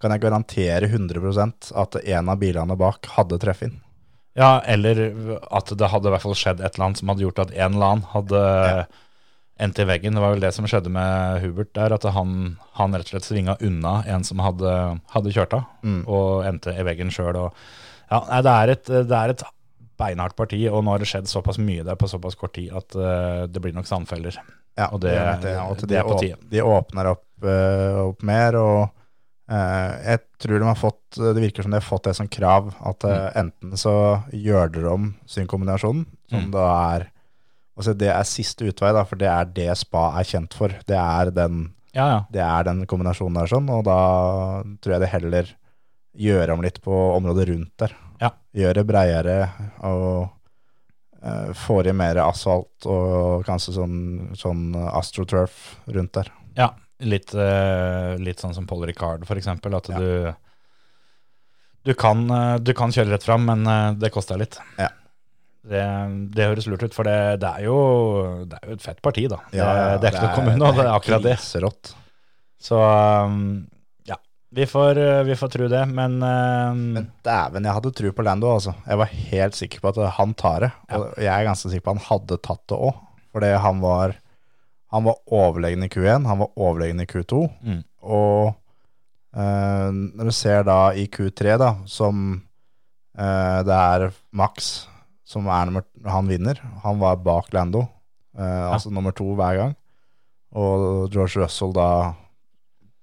Speaker 5: kan jeg garantere 100 at en av bilene bak hadde treffet inn.
Speaker 1: Ja, eller at det hadde i hvert fall skjedd et eller annet som hadde gjort at en eller annen hadde endt i veggen. Det var vel det som skjedde med Hubert der, at han, han rett og slett svinga unna en som hadde, hadde kjørt av, og endte i veggen sjøl. Ja, nei, det er et, det er et beinhardt parti, og nå har det skjedd såpass mye der på såpass kort tid at eh, det blir nok sandfeller.
Speaker 5: Ja,
Speaker 1: Og det-
Speaker 5: vet jeg, og at
Speaker 1: det
Speaker 5: de
Speaker 1: er på
Speaker 5: åp-
Speaker 1: tide.
Speaker 5: De åpner opp, eh, opp mer, og eh, jeg tror de har fått Det virker som de har fått det som krav, at eh, enten så gjør dere om sin kombinasjon, som
Speaker 1: Mm.
Speaker 5: da er Altså det er siste utvei, da, for det er det spa er kjent for. Det er den,
Speaker 1: Ja, ja.
Speaker 5: det er den kombinasjonen der, sånn, og da tror jeg de heller gjør om litt på området rundt der.
Speaker 1: Ja.
Speaker 5: Gjør det breiere og eh, får i mer asfalt og kanskje sånn, sånn astroturf rundt der.
Speaker 1: Ja, litt, eh, litt sånn som Paul Ricard for eksempel, at
Speaker 5: Ja.
Speaker 1: du, du, kan, eh, du kan kjøre rett fram, men eh, det koster deg litt.
Speaker 5: Ja.
Speaker 1: Det, det høres lurt ut, for det, det, er, jo, det er jo et fett parti da. det, det er ikke noe kommune, og det er akkurat det.
Speaker 5: Kriserått.
Speaker 1: Så um, ja, vi får, eh, vi får tro det, men, eh,
Speaker 5: Men dæven, jeg hadde tro på Lando, altså. Jeg var helt sikker på at han tar det. Og jeg er ganske sikker på at han hadde tatt det òg. Fordi han var, han var overlegen i Q1, han var overlegen i Q2.
Speaker 1: Mm.
Speaker 5: Og eh, når du ser da i Q3, da, som eh, det er Max som er nummer Han vinner. Han var bak Lando, eh, altså nummer to hver gang. Og George Russell da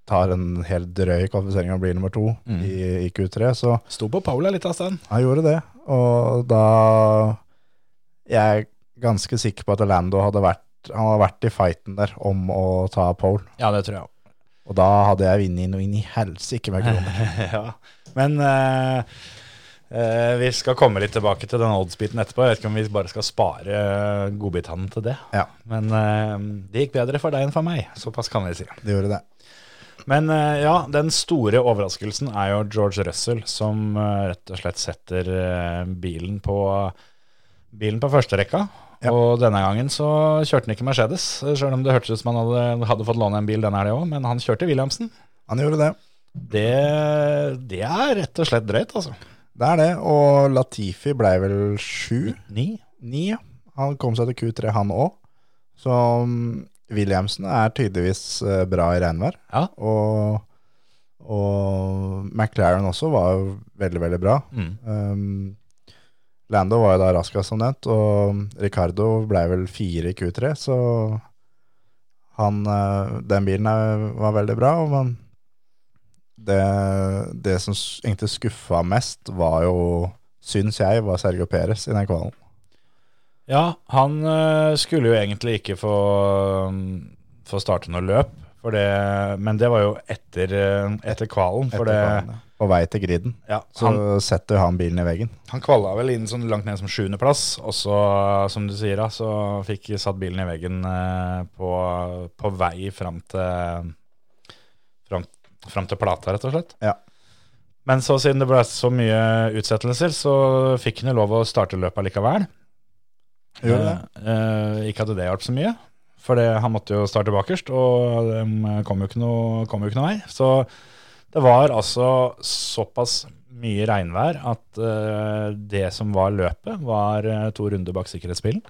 Speaker 5: tar en helt drøy kvalifisering og blir nummer to
Speaker 1: Mm.
Speaker 5: i, i Q3. Så
Speaker 1: Sto på Paula litt av stand.
Speaker 5: han gjorde det, og da Jeg er ganske sikker på at Orlando hadde vært Han hadde vært i fighten der om å ta pole,
Speaker 1: Ja, det tror jeg også.
Speaker 5: og da hadde jeg vunnet noe inn i helsike med kroner.
Speaker 1: ja. Men eh, eh, vi skal komme litt tilbake til den oddsbiten etterpå. Jeg vet ikke om vi bare skal spare eh, godbitene til det.
Speaker 5: Ja.
Speaker 1: Men eh, det gikk bedre for deg enn for meg. Såpass kan vi si.
Speaker 5: Det gjorde det.
Speaker 1: Men eh, ja, den store overraskelsen er jo George Russell, som eh, rett og slett setter eh, bilen på Bilen på førsterekka,
Speaker 5: Ja.
Speaker 1: og denne gangen så kjørte han ikke Mercedes. Sjøl om det hørtes ut som han hadde, hadde fått låne en bil denne helga òg, men han kjørte Williamsen.
Speaker 5: Han gjorde det.
Speaker 1: Det, det er rett og slett drøyt, altså.
Speaker 5: Det er det, og Latifi ble vel sju?
Speaker 1: Ni?
Speaker 5: Ni, ja. Han kom seg til Q3, han òg. Så mm, Williamsen er tydeligvis eh, bra i regnvær.
Speaker 1: Ja.
Speaker 5: Og, og McLaren også var jo veldig, veldig bra.
Speaker 1: Mm.
Speaker 5: Um, Lando var jo da raskest som nevnt, og Ricardo ble vel fire i Q3, så han, eh, den bilen er, var veldig bra. og Man, det, det som s- egentlig skuffa mest, var jo, syns jeg, var Sergio Perez i den kvalen.
Speaker 1: Ja, han eh, skulle jo egentlig ikke få, mm, få starte noe løp, for det, men det var jo etter, eh, etter kvalen. For
Speaker 5: etter kvalen,
Speaker 1: det,
Speaker 5: ja. På vei til griden.
Speaker 1: ja,
Speaker 5: Så
Speaker 1: han,
Speaker 5: setter han bilen i veggen.
Speaker 1: han kvala vel inn sånn langt ned som sjuendeplass, og så, som du sier, da, så fikk satt bilen i veggen eh, på, på vei fram til, fram, fram til plata, rett og slett.
Speaker 5: Ja.
Speaker 1: Men så siden det ble så mye utsettelser, så fikk han jo lov å starte løpet likevel.
Speaker 5: Gjorde det?
Speaker 1: Eh, eh, ikke at det hjalp så mye, for det, han måtte jo starte bakerst, og de kom jo ikke noe, kom jo ikke noe vei. Så det var altså såpass mye regnvær at eh, det som var løpet, var eh, to runder bak sikkerhetsbilen.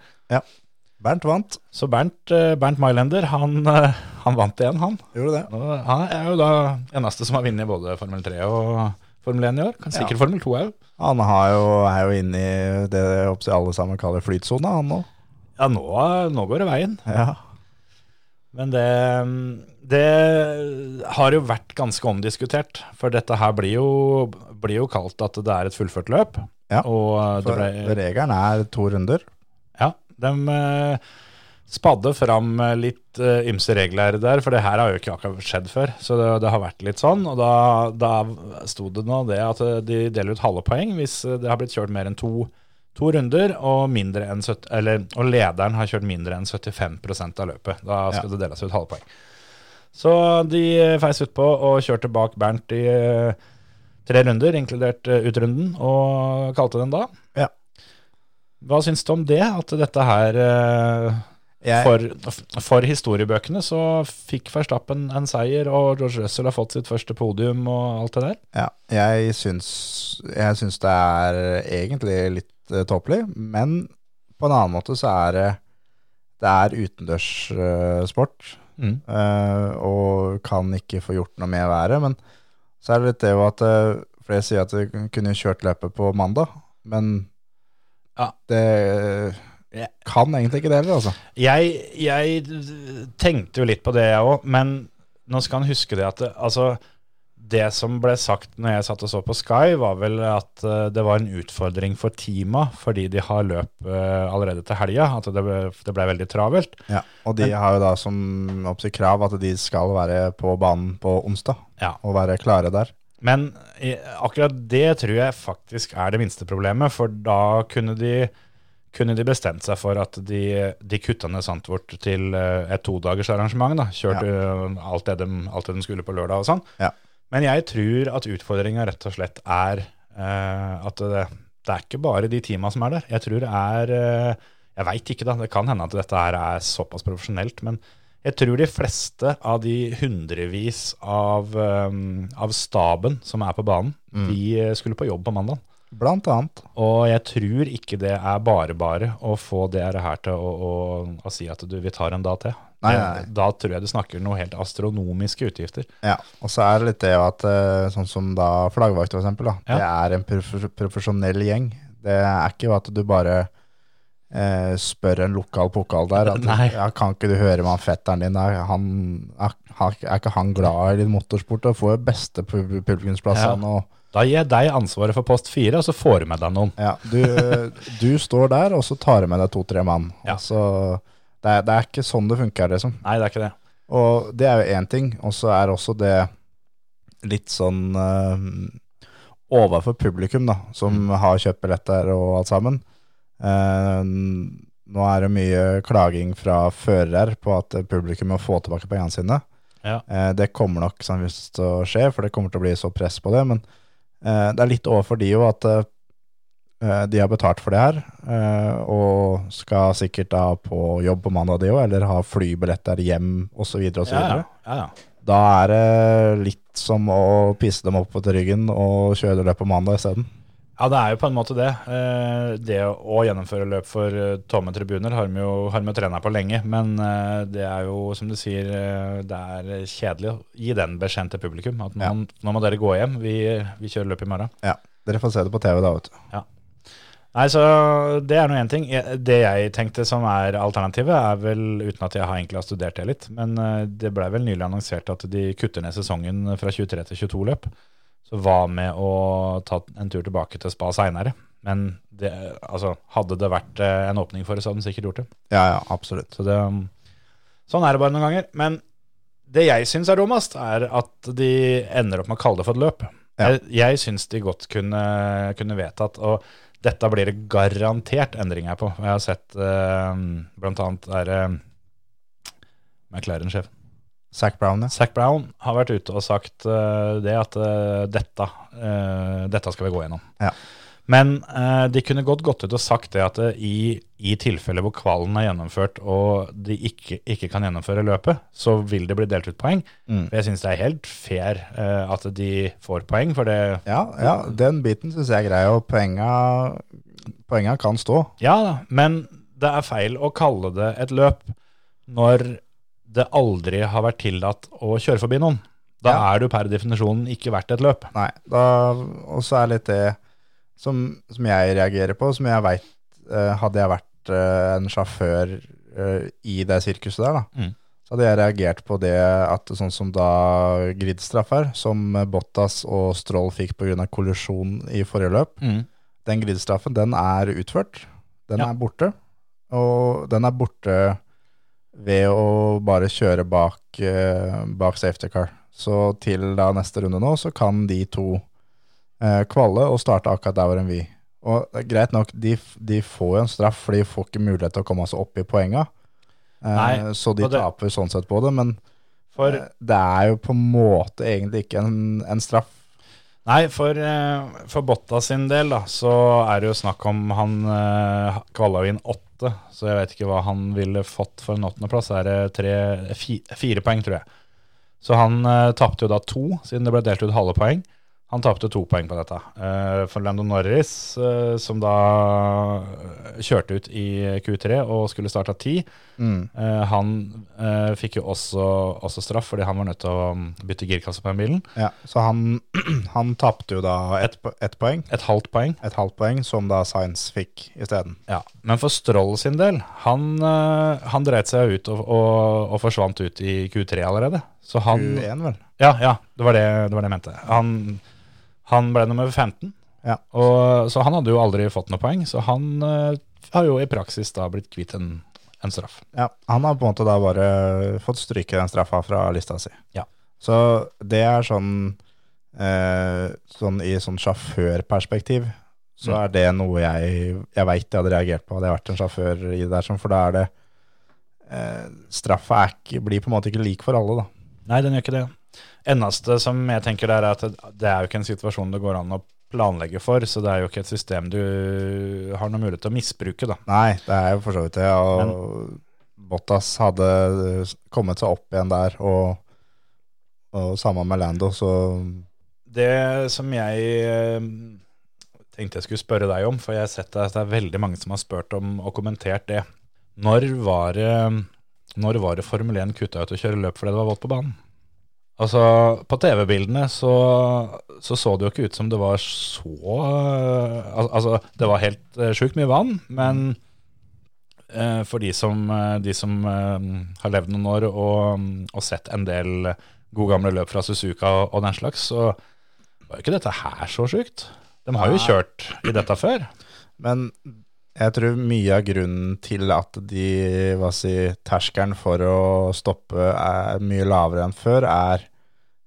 Speaker 5: Bernt vant.
Speaker 1: Så Bernt, eh, Bernt Mylender, han, eh, han vant igjen, han.
Speaker 5: Gjorde det.
Speaker 1: Og Han er jo da eneste som har vunnet både Formel 3 og Formel 1 i år. Kan sikkert Formel 2 òg.
Speaker 5: Han har jo, er jo inne i det jeg håper alle sammen kaller flytsona, han nå.
Speaker 1: Ja, nå, nå går det veien.
Speaker 5: Ja.
Speaker 1: Men det, det har jo vært ganske omdiskutert. For dette her blir jo, blir jo kalt at det er et fullført løp.
Speaker 5: Ja,
Speaker 1: og det
Speaker 5: For
Speaker 1: ble,
Speaker 5: regelen er to runder.
Speaker 1: ja, de eh, spadde fram eh, litt eh, ymse regler der, for det her har jo ikke akkurat skjedd før. Så det, det har vært litt sånn. Og da, da sto det nå det at eh, de deler ut halve poeng hvis eh, det har blitt kjørt mer enn to, to runder, og, mindre enn 70, eller, og lederen har kjørt mindre enn 75 av løpet. Da skal det deles ut halve poeng. Så de eh, feis utpå og kjørte bak Bernt i eh, tre runder, inkludert eh, utrunden, og kalte den da.
Speaker 5: Ja.
Speaker 1: Hva syns du om det? At dette her eh,
Speaker 5: Jeg,
Speaker 1: for, for historiebøkene så fikk Verstappen en seier, og George Russell har fått sitt første podium og alt det der.
Speaker 5: ja, jeg, syns, jeg syns det er egentlig litt eh, tåpelig, men på en annen måte så er det, det er utendørssport, eh, og kan ikke få gjort noe med været. Men så er det litt det jo at eh, flere sier at de kunne kjørt løpet på mandag, men
Speaker 1: Ja.
Speaker 5: det eh,
Speaker 1: Ja.
Speaker 5: kan egentlig ikke det heller, altså.
Speaker 1: Jeg, jeg tenkte jo litt på det, jeg òg, men nå skal han huske det at det, altså, det som ble sagt når jeg satt og så på Sky, var vel at eh, det var en utfordring for teama fordi de har løp eh, allerede til helga. At det ble, det ble veldig travelt.
Speaker 5: Ja, og de har jo da som oppsi krav at de skal være på banen på onsdag
Speaker 1: Ja.
Speaker 5: og være klare der.
Speaker 1: Men i- akkurat det tror jeg faktisk er det minste problemet, for da kunne de, kunne de bestemt seg for at de, de kutta ned Sandtvort til eh, et todagersarrangement. da, Kjørte eh, alt, det de, alt det de skulle på lørdag og sånn.
Speaker 5: Ja.
Speaker 1: Men jeg tror at utfordringa rett og slett er eh, at det, det er ikke bare de teama som er der. Jeg tror det er eh, Jeg veit ikke, da. Det kan hende at dette her er såpass profesjonelt. Men jeg tror de fleste av de hundrevis av, eh, av staben som er på banen, de eh, skulle på jobb på mandag.
Speaker 5: Mm. Blant annet.
Speaker 1: Og jeg tror ikke det er bare bare å få det her til å, å, å si at du, vi tar en dag til.
Speaker 5: Nei, nei, nei.
Speaker 1: Da tror jeg du snakker noe helt astronomiske utgifter.
Speaker 5: Ja, og så er det litt det at eh, sånn som da flaggvakt for eksempel, da, det
Speaker 1: Ja.
Speaker 5: er en prof profesjonell gjeng. Det er ikke at du bare eh, spør en lokal pokal der at
Speaker 1: Nei.
Speaker 5: ja, kan ikke du høre med han fetteren din, er, han, er, er ikke han glad i litt motorsport og får jo beste pub- publikumsplass
Speaker 1: Ja.
Speaker 5: han og
Speaker 1: Da gir jeg deg ansvaret for post fire, og så får du med deg noen.
Speaker 5: Ja, du, du står der, og så tar du med deg to-tre mann.
Speaker 1: Ja.
Speaker 5: Og så, det, er, det er ikke sånn det funker, liksom.
Speaker 1: Nei, det er ikke det.
Speaker 5: Og det er jo én ting, og så er også det litt sånn eh, overfor publikum, da, som har kjøpt billetter og alt sammen. Eh, nå er det mye klaging fra førere på at publikum må få tilbake pengene sine.
Speaker 1: Ja.
Speaker 5: Eh, det kommer nok sannsynligvis til å skje, for det kommer til å bli så press på det. Men eh, det er litt overfor de jo at eh, de har betalt for det her, eh, og skal sikkert da på jobb på mandag, de òg, eller ha flybilletter hjem osv.
Speaker 1: Ja,
Speaker 5: videre
Speaker 1: ja, ja.
Speaker 5: Da er det litt som å pisse dem opp til ryggen og kjøre løp på mandag isteden.
Speaker 1: Ja, det er jo på en måte det. Eh, Det å gjennomføre løp for eh, tomme tribuner har vi jo har vi jo trena på lenge, men eh, det er jo, som du sier, eh, det er kjedelig å gi den beskjeden til publikum. At nå, nå må dere gå hjem, vi, vi kjører løp i morgen.
Speaker 5: Ja, dere får se det på TV da, vet du.
Speaker 1: Nei, så det er nå én ting. Jeg- Det jeg tenkte som er alternativet, er vel, uten at jeg har egentlig har studert det litt, men eh, det blei vel nylig annonsert at de kutter ned sesongen fra 23 til 22 løp. Så hva med å ta en tur tilbake til spa seinere? Men det, altså, hadde det vært eh, en åpning for det, så hadde de sikkert gjort det.
Speaker 5: Ja, ja, absolutt.
Speaker 1: Så det, um, sånn er det bare noen ganger. Men det jeg syns er dummest, er at de ender opp med å kalle det for et løp.
Speaker 5: Ja.
Speaker 1: Jeg, jeg syns de godt kunne, kunne vedtatt, og dette blir det garantert endringer på. Jeg har sett eh, blant annet er eh, McLaren-sjefen.
Speaker 5: Zac Brown, ja.
Speaker 1: Zac Brown har vært ute og sagt eh, det at eh, dette, eh, dette skal vi gå gjennom.
Speaker 5: Ja.
Speaker 1: Men eh, de kunne godt gått ut og sagt det at eh, i, i tilfelle hvor kvalen er gjennomført og de ikke, ikke kan gjennomføre løpet, så vil det bli delt ut poeng.
Speaker 5: Mm.
Speaker 1: For jeg syns det er helt fair eh, at de får poeng, for det
Speaker 5: Ja, ja den biten syns jeg er grei, og poenga, poenga kan stå.
Speaker 1: Ja da, men det er feil å kalle det et løp når det aldri har vært tillatt å kjøre forbi noen. Da er du per definisjon ikke verdt et løp.
Speaker 5: Nei, da, og så er litt det som, som jeg reagerer på, som jeg veit Hadde jeg vært eh, en sjåfør eh, i det sirkuset der, da,
Speaker 1: Mm.
Speaker 5: så hadde jeg reagert på det at sånn som da gridstraff her, som Bottas og Stroll fikk pga. kollisjon i forrige løp, den gridstraffen den er utført. Den
Speaker 1: Ja.
Speaker 5: er borte. Og den er borte ved å bare kjøre bak, eh, bak safety car. Så til da neste runde nå, så kan de to eh, kvalle og starte akkurat der hvor enn vi. Og det er greit nok, de, f- de får jo en straff, for de får ikke mulighet til å komme seg opp i poenga. Eh,
Speaker 1: Nei,
Speaker 5: så de
Speaker 1: og det-
Speaker 5: taper sånn sett på det, men
Speaker 1: For,
Speaker 5: eh, det er jo på en måte egentlig ikke en, en straff.
Speaker 1: nei, for, eh, for Botta sin del da, så er det jo snakk om han eh, kvala jo inn åtte, så jeg vet ikke hva han ville fått for en åttendeplass. Er det tre, fi, fire poeng, tror jeg. Så han eh, tapte jo da to, siden det ble delt ut halve poeng. Han tapte to poeng på dette. Eh, for Lando Norris, eh, som da eh, kjørte ut i Q3 og skulle starta ti,
Speaker 5: Mm.
Speaker 1: Eh, han eh, fikk jo også, også straff fordi han var nødt til å mm, bytte girkasse på den bilen.
Speaker 5: Ja, så han, han tapte jo da ett po- ett poeng.
Speaker 1: Et halvt poeng.
Speaker 5: et halvt poeng, som da Science fikk isteden.
Speaker 1: Ja. Men for Stroll sin del, han, eh, han dreit seg jo ut og, og, og forsvant ut i Q3 allerede. Så han
Speaker 5: Q1, vel.
Speaker 1: Ja, ja det, var det, det var det jeg mente. Han, han ble nummer 15,
Speaker 5: Ja.
Speaker 1: og, så han hadde jo aldri fått noe poeng. Så han eh, har jo i praksis da blitt kvitt en, en straff.
Speaker 5: Ja, han har på en måte da bare fått stryke den straffa fra lista si.
Speaker 1: Ja.
Speaker 5: Så det er sånn, eh, sånn i sånn sjåførperspektiv, så
Speaker 1: Mm.
Speaker 5: er det noe jeg, jeg veit jeg hadde reagert på hadde jeg vært en sjåfør i det der, sånn, for da er det eh, Straffa er ikke, blir på en måte ikke lik for alle, da.
Speaker 1: Nei, den gjør ikke det. Eneste som jeg tenker der, er at det er jo ikke en situasjon det går an å planlegge for, så det er jo ikke et system du har noen mulighet til å misbruke, da.
Speaker 5: Nei, det er jo for så vidt det. Og Bottas hadde kommet seg opp igjen der, og, og sammen med Lando, så
Speaker 1: Det som jeg eh, tenkte jeg skulle spørre deg om, for jeg har sett at det er veldig mange som har spurt om og kommentert det. Når var det, når var det Formel 1 kutta ut å kjøre løp fordi det var vått på banen? Altså, På TV-bildene så, så så det jo ikke ut som det var så eh, al- Altså, det var helt eh, sjukt mye vann, men eh, for de som, eh, de som eh, har levd noen år og, og sett en del gode gamle løp fra Suzuka og, og den slags, så var jo ikke dette her så sjukt. De har jo
Speaker 5: Nei.
Speaker 1: kjørt i dette før.
Speaker 5: Men jeg tror mye av grunnen til at de, hva si, terskelen for å stoppe er mye lavere enn før, er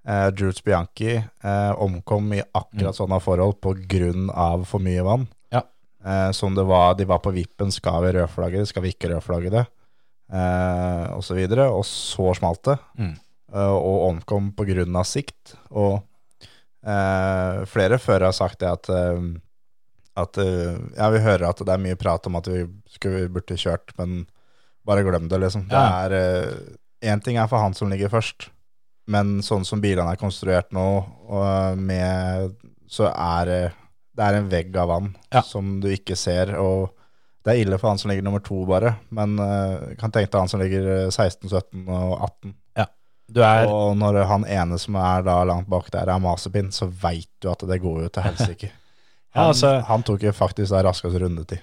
Speaker 5: eh, Jules Bianchi eh, omkom i akkurat sånne forhold på grunn av for mye vann.
Speaker 1: Ja.
Speaker 5: Eh, som det var, de var på vippen, skal vi rødflagge det, skal vi ikke rødflagge det, eh, og så videre. Og så smalt det,
Speaker 1: Mm.
Speaker 5: eh, og omkom på grunn av sikt. Og eh, flere før har sagt det at eh, at eh, ja, vi hører at det er mye prat om at vi skulle vi burde kjørt, men bare glem det, liksom. Det
Speaker 1: Ja.
Speaker 5: er én ting er for han som ligger først, men sånn som bilene er konstruert nå, og eh, med, så er det det er en vegg av vann
Speaker 1: Ja.
Speaker 5: som du ikke ser, og det er ille for han som ligger nummer to, bare. Men eh, kan tenke deg han som ligger eh, 16, 17 og 18.
Speaker 1: Du er,
Speaker 5: Og når han ene som er da langt bak der, er masepinn, så veit du at det går jo til helsike.
Speaker 1: Ja,
Speaker 5: Han,
Speaker 1: altså-
Speaker 5: han tok jo faktisk da raskest rundetid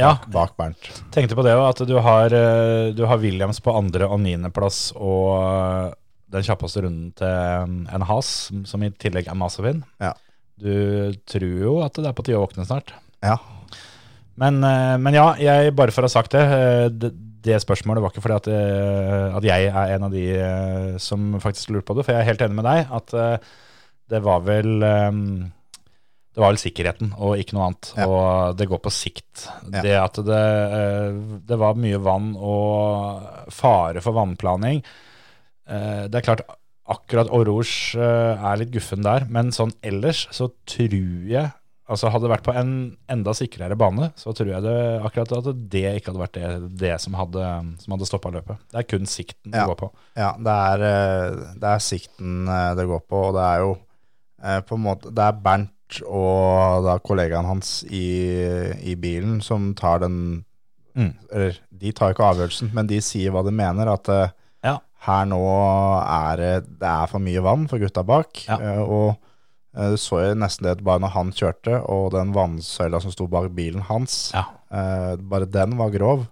Speaker 1: ja,
Speaker 5: bak Bernt.
Speaker 1: tenkte på det òg, at du har, eh, du har Williams på andre- og niendeplass og eh, den kjappeste runden til eh, en has, som i tillegg er Masovin.
Speaker 5: Ja.
Speaker 1: Du tror jo at det er på tide å våkne snart.
Speaker 5: Ja.
Speaker 1: Men, eh, men ja, jeg, bare for å ha sagt det, eh, det, det spørsmålet var ikke fordi at, eh, at jeg er en av de eh, som faktisk lurer på det, for jeg er helt enig med deg at eh, det var vel eh, det var vel sikkerheten og ikke noe annet.
Speaker 5: Ja.
Speaker 1: Og det går på sikt.
Speaker 5: Ja.
Speaker 1: Det at det, eh, det var mye vann og fare for vannplaning. Eh, Det er klart akkurat Oros er litt guffen der, men sånn ellers så tror jeg Altså Hadde det vært på en enda sikrere bane, så tror jeg det, akkurat at det ikke hadde vært det, det som hadde, som hadde stoppa løpet. Det er kun sikten det
Speaker 5: Ja.
Speaker 1: går på.
Speaker 5: Ja, det er, eh, det er sikten eh, det går på, og det er jo eh, på en måte Det er Bernt og da kollegaen hans i, i bilen som tar den
Speaker 1: Mm.
Speaker 5: Eller de tar ikke avgjørelsen, men de sier hva de mener. At eh,
Speaker 1: Ja.
Speaker 5: her nå er det, det er for mye vann for gutta bak.
Speaker 1: Ja.
Speaker 5: eh, Og eh, du så jo nesten det bare når han kjørte, og den vannsøyla som sto bak bilen hans,
Speaker 1: Ja.
Speaker 5: eh, bare den var grov.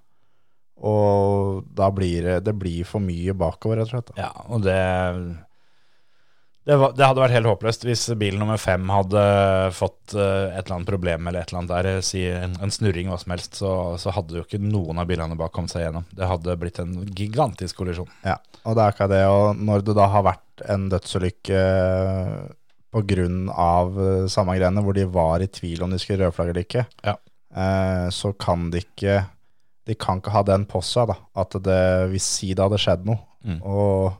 Speaker 5: Og da blir det, det blir for mye bakover, rett og slett. da.
Speaker 1: Ja, og det det, var, det hadde vært helt håpløst hvis bil nummer fem hadde fått eh, et eller annet problem eller et eller annet der, eh, si en, en snurring, hva som helst, så, så hadde jo ikke noen av bilene bak kommet seg gjennom. Det hadde blitt en gigantisk kollisjon.
Speaker 5: Ja, og det er ikke det, og når det da har vært en dødsulykke eh, på grunn av eh, samme greiene, hvor de var i tvil om de skulle rødflagge eller ikke,
Speaker 1: Ja.
Speaker 5: eh, så kan de ikke, de kan ikke ha den på seg da, at det, hvis si det hadde skjedd noe,
Speaker 1: Mm.
Speaker 5: og,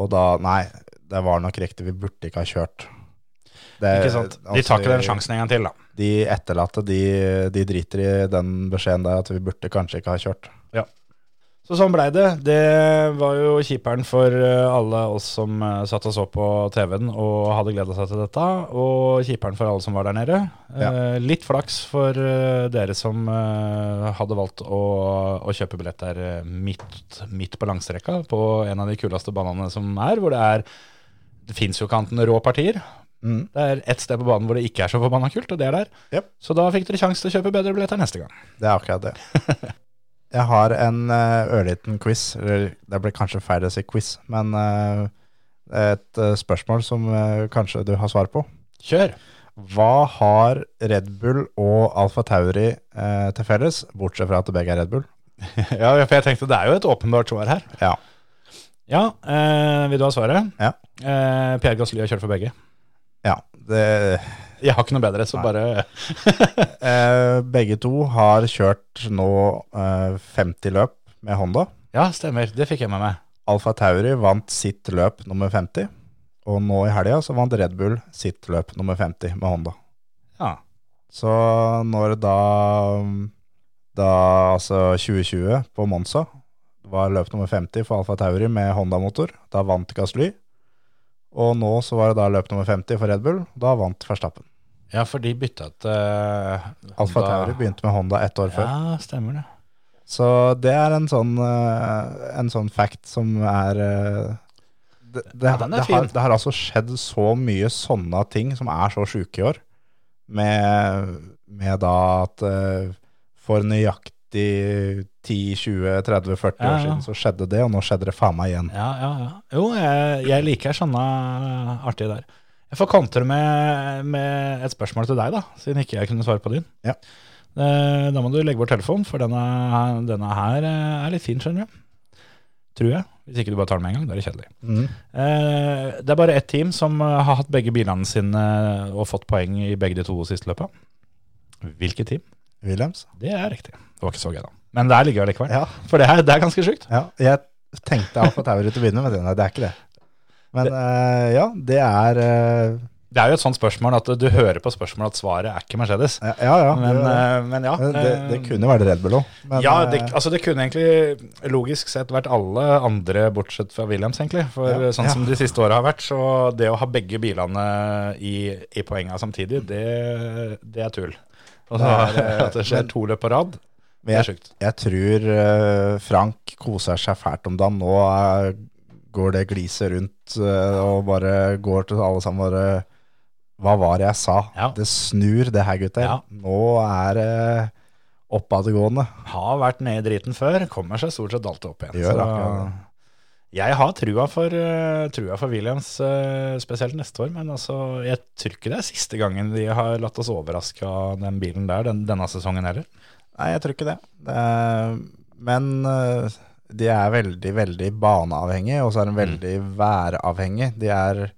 Speaker 5: og da, nei, det var nok riktig, vi burde ikke ha kjørt. Det-
Speaker 1: Ikke sant? De
Speaker 5: altså,
Speaker 1: tar ikke den sjansen en gang til, da.
Speaker 5: De etterlatte, de, de driter i den beskjeden der, at vi burde kanskje ikke ha kjørt.
Speaker 1: Så sånn blei det. Det var jo kjiperen for eh, alle oss som eh, satt og så på TV-en og hadde gleda seg til dette, og kjiperen for alle som var der nede.
Speaker 5: Ja.
Speaker 1: Eh, Litt flaks for eh, dere som eh, hadde valgt å, å kjøpe billett der eh, midt, midt på langstrekka, på en av de kuleste banene som er, hvor det er Det fins jo ikke annet enn rå partier.
Speaker 5: Mm.
Speaker 1: Det er ett sted på banen hvor det ikke er så forbanna kult, og det er der.
Speaker 5: Jep.
Speaker 1: Så da fikk dere sjanse til å kjøpe bedre billetter neste gang.
Speaker 5: Det er akkurat det. Jeg har en eh, ørliten quiz. Eller det blir kanskje feil å si quiz, men eh, et eh, spørsmål som eh, kanskje du har svar på.
Speaker 1: Kjør!
Speaker 5: Hva har Red Bull og Alfa Tauri eh, til felles, bortsett fra at begge er Red Bull?
Speaker 1: Ja, for jeg tenkte det er jo et åpenbart svar her.
Speaker 5: Ja.
Speaker 1: Ja, eh, vil du ha svaret?
Speaker 5: Ja.
Speaker 1: Eh, Pierre Gasly har kjørt for begge.
Speaker 5: Ja, det,
Speaker 1: Jeg har ikke noe bedre, så
Speaker 5: Nei.
Speaker 1: bare
Speaker 5: eh, begge to har kjørt nå eh, 50 løp med Honda.
Speaker 1: Ja, stemmer. Det fikk jeg med meg.
Speaker 5: Alfa Tauri vant sitt løp nummer 50, og nå i helga så vant Red Bull sitt løp nummer 50 med Honda.
Speaker 1: Ja.
Speaker 5: Så når da Da altså 2020 på Monza var løp nummer 50 for Alfa Tauri med Honda-motor. Da vant Gasly. Og nå så var det da løp nummer 50 for Red Bull. Da vant Verstappen.
Speaker 1: ja, for de bytta ut uh,
Speaker 5: Alfa Tauri begynte med Honda ett år før.
Speaker 1: Ja, stemmer det.
Speaker 5: Så det er en sånn, eh, en sånn fact som er eh, det, det,
Speaker 1: Ja, den er
Speaker 5: det, har,
Speaker 1: fin.
Speaker 5: det har altså skjedd så mye sånne ting som er så sjuke i år, med, med da at eh, for nøyaktig 10, 20, 30,
Speaker 1: Ja,
Speaker 5: 40 år
Speaker 1: ja.
Speaker 5: siden så skjedde det, og nå skjedde det faen meg igjen.
Speaker 1: Ja, ja, ja. Jo, jeg, jeg liker sånne artige der. Jeg får kontre med, med et spørsmål til deg, da, siden ikke jeg kunne svare på din.
Speaker 5: Ja.
Speaker 1: Eh, Da må du legge bort telefonen, for denne, denne her eh, er litt fin, skjønner du. Tror jeg. Hvis ikke du bare tar den med en gang, da er det kjedelig.
Speaker 5: Mm.
Speaker 1: Eh, Det er bare ett team som eh, har hatt begge bilene sine eh, og fått poeng i begge de to siste løpa. Hvilket team?
Speaker 5: Williams?
Speaker 1: Det er riktig. Det var ikke så gøy, da. Men der ligger jeg likevel.
Speaker 5: Ja.
Speaker 1: For det er, det er ganske sjukt.
Speaker 5: Ja, jeg tenkte Alfa Tauri til å begynne med, men nei, det er ikke det. Men eh, ja, det er eh,
Speaker 1: Det er jo et sånt spørsmål at du hører på spørsmålet at svaret er ikke Mercedes.
Speaker 5: Ja, ja.
Speaker 1: Men,
Speaker 5: det-
Speaker 1: eh, men ja.
Speaker 5: Men det, det
Speaker 1: eh,
Speaker 5: kunne eh, vært Red Bull òg.
Speaker 1: ja, det, altså det kunne egentlig logisk sett vært alle andre bortsett fra Williams, egentlig. For
Speaker 5: Ja.
Speaker 1: sånn som de siste åra har vært, så det å ha begge bilene i, i poenga samtidig, det, det er tull. Og så
Speaker 5: Det er, eh,
Speaker 1: at det skjer
Speaker 5: men-
Speaker 1: to løp på rad, det er
Speaker 5: jeg,
Speaker 1: sjukt.
Speaker 5: jeg tror eh, Frank koser seg fælt om dagen. Nå eh, går det gliset rundt eh, og bare går til alle sammen bare Hva var det jeg sa?
Speaker 1: Ja.
Speaker 5: Det snur, det her, gutter.
Speaker 1: Ja.
Speaker 5: Nå er eh, det oppadgående.
Speaker 1: Har vært nede i driten før, kommer seg stort sett alltid opp igjen.
Speaker 5: Gjør
Speaker 1: så-
Speaker 5: akkurat det.
Speaker 1: jeg har trua for, eh, trua for Williams, eh, spesielt neste år. Men altså, jeg tror ikke det er siste gangen de har latt oss overraske av den bilen der den, denne sesongen heller.
Speaker 5: Nei, jeg tror ikke det. det er, men eh, de er veldig, veldig baneavhengige, og så er de veldig
Speaker 1: Mm.
Speaker 5: væravhengige. De er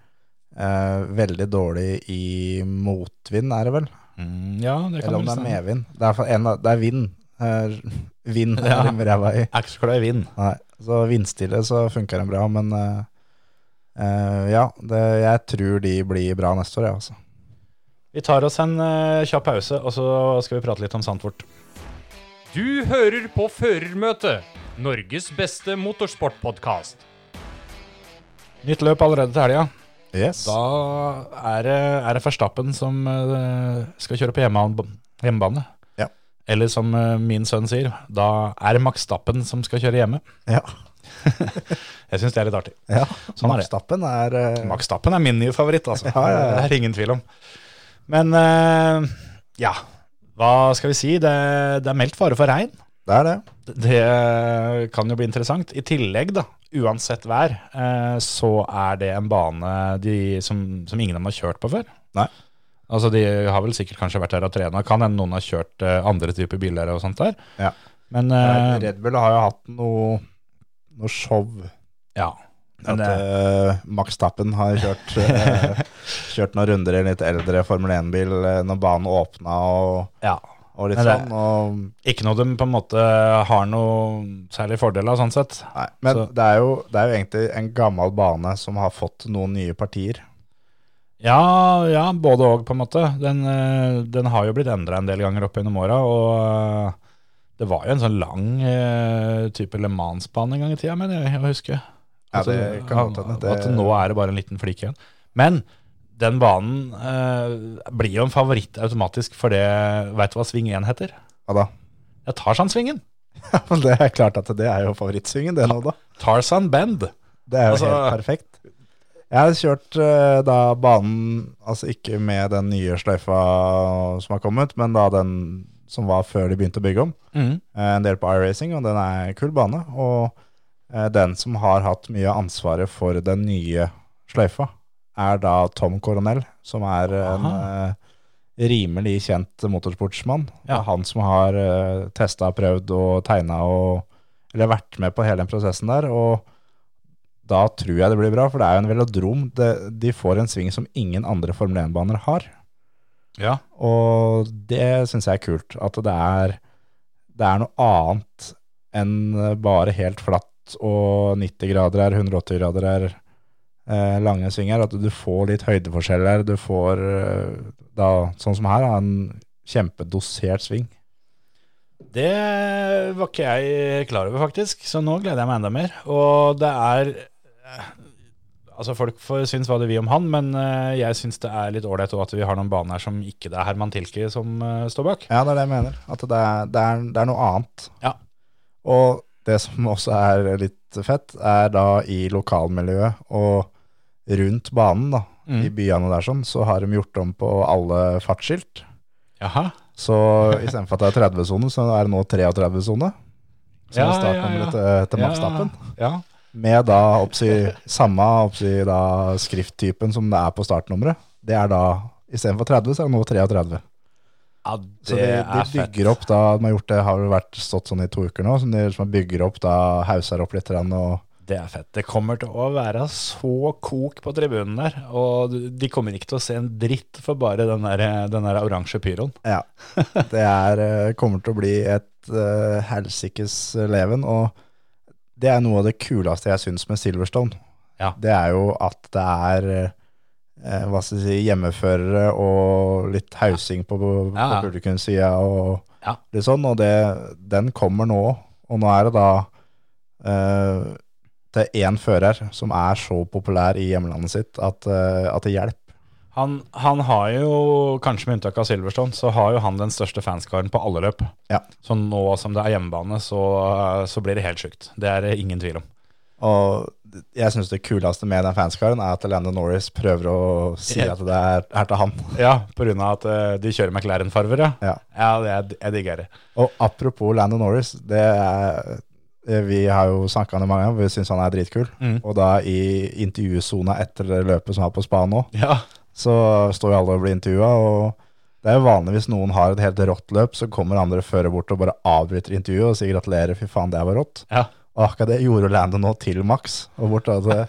Speaker 5: eh, veldig dårlig i motvind, er det vel?
Speaker 1: Mm, ja, det kan
Speaker 5: Eller
Speaker 1: vel
Speaker 5: om det er
Speaker 1: stemme.
Speaker 5: medvind. Det er, for- en, av- det er vind. Eh, vind
Speaker 1: Ja.
Speaker 5: er de ræva i.
Speaker 1: Er ikke så glad i vind.
Speaker 5: Nei, så vindstille så funker den bra, men eh, eh, ja, det, jeg tror de blir bra neste år, jeg, altså.
Speaker 1: Vi tar oss en eh, kjapp pause, og så skal vi prate litt om Sandfort.
Speaker 6: Du hører på Førermøtet, Norges beste motorsportpodkast.
Speaker 1: Nytt løp allerede til helga.
Speaker 5: Yes.
Speaker 1: Da er det, er det Verstappen som eh, skal kjøre på hjemmehan- hjemmebane.
Speaker 5: Ja.
Speaker 1: Eller som eh, min sønn sier, da er det Max Stappen som skal kjøre hjemme.
Speaker 5: Ja.
Speaker 1: Jeg syns det er litt artig.
Speaker 5: Ja,
Speaker 1: Sånn er det.
Speaker 5: Max Verstappen er eh,
Speaker 1: Max Stappen er min nye favoritt, altså.
Speaker 5: Ja, ja, ja.
Speaker 1: Det er ingen tvil om. Men eh, ja, hva skal vi si? Det, det er meldt fare for regn.
Speaker 5: Det er det.
Speaker 1: Det kan jo bli interessant. I tillegg, da, uansett vær, eh, så er det en bane de, som, som ingen av dem har kjørt på før.
Speaker 5: Nei.
Speaker 1: Altså, De har vel sikkert kanskje vært der og trena. Kan hende noen har kjørt eh, andre typer biler og sånt der.
Speaker 5: Ja.
Speaker 1: Men, eh,
Speaker 5: Red Bull har jo hatt noe, noe show.
Speaker 1: ja.
Speaker 5: At
Speaker 1: Men, eh,
Speaker 5: eh, Max Stappen har kjørt, eh, kjørt noen runder i en litt eldre Formel 1-bil eh, når banen åpna og,
Speaker 1: ja.
Speaker 5: og litt
Speaker 1: Men det-
Speaker 5: sånn. Og,
Speaker 1: Ikke noe de på en måte har noe særlig fordel av, sånn sett.
Speaker 5: nei, men
Speaker 1: Så-
Speaker 5: det er, jo, det er jo egentlig en gammel bane som har fått noen nye partier.
Speaker 1: Ja, ja både òg, på en måte. Den, eh, den har jo blitt endra en del ganger opp gjennom åra. Og eh, det var jo en sånn lang eh, type Le Mans-bane en gang i tida, mener jeg å huske.
Speaker 5: Ja,
Speaker 1: At
Speaker 5: det kan godt hende. Det-
Speaker 1: At nå er det bare en liten flike igjen. Men den banen eh, blir jo en favoritt automatisk, for det Veit du hva sving 1 heter?
Speaker 5: Hva da?
Speaker 1: Det er Tarzan-svingen.
Speaker 5: Men det er klart at det er jo favorittsvingen, det nå, da.
Speaker 1: Tarzan Bend.
Speaker 5: Det er jo
Speaker 1: Altså-
Speaker 5: helt perfekt. Jeg har kjørt eh, da banen, altså ikke med den nye sløyfa som har kommet, men da den som var før de begynte å bygge om.
Speaker 1: Mm.
Speaker 5: Eh, En del på iRacing, og den er en kul bane. Og eh, den som har hatt mye av ansvaret for den nye sløyfa, er da Tom Coronel, som er en
Speaker 1: Aha.
Speaker 5: eh, rimelig kjent motorsportsmann. Det
Speaker 1: Ja.
Speaker 5: er Han som har uh, testa, prøvd og tegna og Eller vært med på hele den prosessen der. Og da tror jeg det blir bra, for det er jo en velodrom. Det, de får en sving som ingen andre Formel 1-baner har.
Speaker 1: Ja.
Speaker 5: Og det syns jeg er kult. At det er, det er noe annet enn bare helt flatt og 90 grader her, 180 grader her, eh, lange svinger. At du får litt høydeforskjeller. Du får, eh, da, sånn som her, da, en kjempedosert sving.
Speaker 1: Det var ikke jeg klar over, faktisk, så nå gleder jeg meg enda mer. Og det er eh, Altså, folk får synes hva det vil om han, men eh, jeg syns det er litt ålreit også at vi har noen baner her som ikke det er Herman Tilke som eh, står bak.
Speaker 5: Ja, det er det jeg mener. At det er, det er, det er noe annet.
Speaker 1: Ja.
Speaker 5: Og det som også er litt fett, er da i lokalmiljøet og rundt banen, da,
Speaker 1: Mm.
Speaker 5: i byene der sånn, så har de gjort om på alle fartsskilt.
Speaker 1: Jaha.
Speaker 5: Så istedenfor at det er 30-sone, så er det nå 33-sone. Som
Speaker 1: Ja, ja,
Speaker 5: er
Speaker 1: ja.
Speaker 5: startnummeret til, til Max Verstappen.
Speaker 1: Ja.
Speaker 5: Med da oppsi, samme oppsi, da, skrifttypen som det er på startnummeret. Det er da istedenfor 30, så er det nå 33.
Speaker 1: ja,
Speaker 5: Så
Speaker 1: det
Speaker 5: de, de
Speaker 1: er fett.
Speaker 5: bygger opp da, de har gjort det, har vel vært stått sånn i to uker nå, som de liksom bygger opp da, hauser opp litt grann, og
Speaker 1: Det er fett. Det kommer til å være så kok på tribunen der. Og de kommer ikke til å se en dritt for bare den der, den der oransje pyroen.
Speaker 5: ja. Det er, eh, kommer til å bli et uh, helsikes eh, leven, og det er noe av det kuleste jeg syns med Silverstone.
Speaker 1: Ja.
Speaker 5: Det er jo at det er eh, hva skal jeg si, hjemmeførere og litt hausing på, på,
Speaker 1: Ja, ja.
Speaker 5: på publikumssida og
Speaker 1: Ja.
Speaker 5: litt sånn, og det, den kommer nå. Og nå er det da eh, til én fører som er så populær i hjemlandet sitt at, eh, at det hjelper.
Speaker 1: Han, han har jo, kanskje med unntak av Silverstone, så har jo han den største fanskaren på alle løp.
Speaker 5: Ja.
Speaker 1: Så nå som det er hjemmebane, så, så blir det helt sjukt. Det er det ingen tvil om.
Speaker 5: Og jeg syns det kuleste med den fanskaren er at Lando Norris prøver å si
Speaker 1: Ja.
Speaker 5: at det er, er til han.
Speaker 1: Ja, på grunn av at eh, de kjører McLaren-farver, ja.
Speaker 5: Ja.
Speaker 1: Ja, det er, jeg digger det.
Speaker 5: Og apropos Lando Norris, det er, vi har jo snakka om det mange ganger, vi syns han er dritkul.
Speaker 1: Mm.
Speaker 5: Og da i intervjusona etter det løpet som er på spa nå,
Speaker 1: Ja,
Speaker 5: så står jo alle og blir intervjua. Og det er jo vanlig hvis noen har et helt rått løp, så kommer andre fører bort og bare avbryter intervjuet og sier gratulerer, fy faen, det var rått.
Speaker 1: ja.
Speaker 5: Og akkurat det gjorde Lando nå til Max. Og bort da til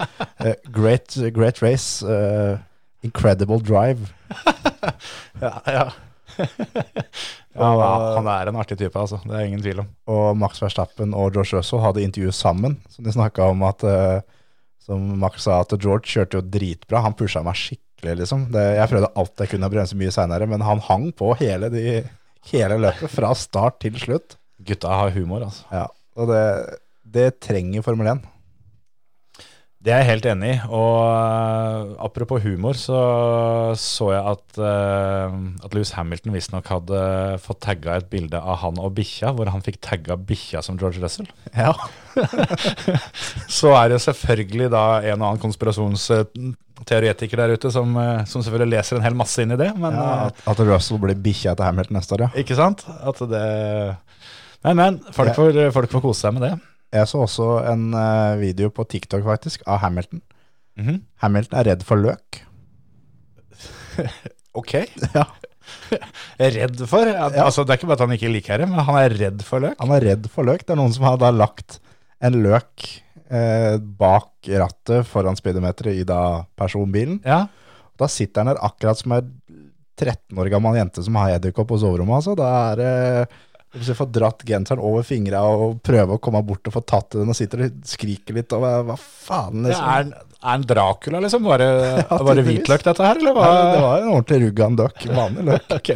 Speaker 5: eh, great, great race, eh, incredible drive.
Speaker 1: ja, ja.
Speaker 5: Og-
Speaker 1: han er en artig type, altså. Det er ingen tvil om.
Speaker 5: og Max Verstappen og George Russell hadde intervju sammen, som de snakka om at eh, Som Max sa, at George kjørte jo dritbra. Han pusha meg skikkelig, liksom. Det, jeg prøvde alt jeg kunne å bremse mye seinere, men han hang på hele, de, hele løpet, fra start til slutt.
Speaker 1: Gutta har humor, altså.
Speaker 5: Ja, og det, det trenger Formel 1.
Speaker 1: Det er jeg helt enig i. Og eh, apropos humor, så så jeg at, eh, at Louis Hamilton visstnok hadde fått tagga et bilde av han og bikkja, hvor han fikk tagga bikkja som George Russell. Ja. så er det selvfølgelig da en og annen konspirasjonsteoretiker der ute som, eh, som selvfølgelig leser en hel masse inn i det, men eh,
Speaker 5: at, at Russell blir bikkja til Hamilton neste år, ja.
Speaker 1: Ikke sant? At det Men, men. Folk
Speaker 5: Ja.
Speaker 1: får, folk får kose seg med det.
Speaker 5: Jeg så også en eh, video på TikTok faktisk, av Hamilton.
Speaker 1: Mhm.
Speaker 5: Hamilton er redd for løk.
Speaker 1: Ok. redd for at, altså, Det er ikke bare at han ikke liker det, men han er redd for løk.
Speaker 5: Han er redd for løk. Det er noen som har da lagt en løk eh, bak rattet foran speedometeret i da personbilen.
Speaker 1: Ja.
Speaker 5: Da sitter han der akkurat som ei 13 år gammel jente som har edderkopp på soverommet. Altså. Da er det Hvis jeg får dratt genseren over fingra og prøve å komme bort og få tatt i den, og sitter og skriker litt og hva faen,
Speaker 1: Det
Speaker 5: liksom.
Speaker 1: er, en- er en Dracula, liksom? Bare, bare
Speaker 5: tydeligvis.
Speaker 1: hvitløk, dette her, eller hva?
Speaker 5: Ja, det var en ordentlig ruggan duck, vanlig løk.
Speaker 1: Ok.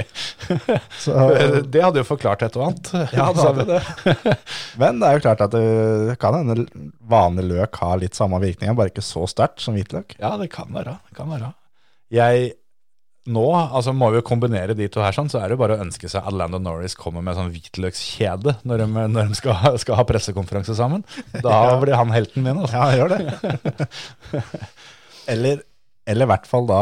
Speaker 5: Så,
Speaker 1: det hadde jo forklart et og annet.
Speaker 5: Ja, det hadde men det er jo klart at det kan hende vanlig løk har litt samme virkninger, bare ikke så sterkt som hvitløk.
Speaker 1: Ja, det kan være. Det kan være. Jeg nå, altså må vi jo kombinere de to her, sånn, så er det jo bare å ønske seg at Landon Norris kommer med sånn hvitløkskjede når de, når de skal, ha- skal ha pressekonferanse sammen. Da blir han helten min. Altså.
Speaker 5: Ja, gjør det. eller, eller i hvert fall da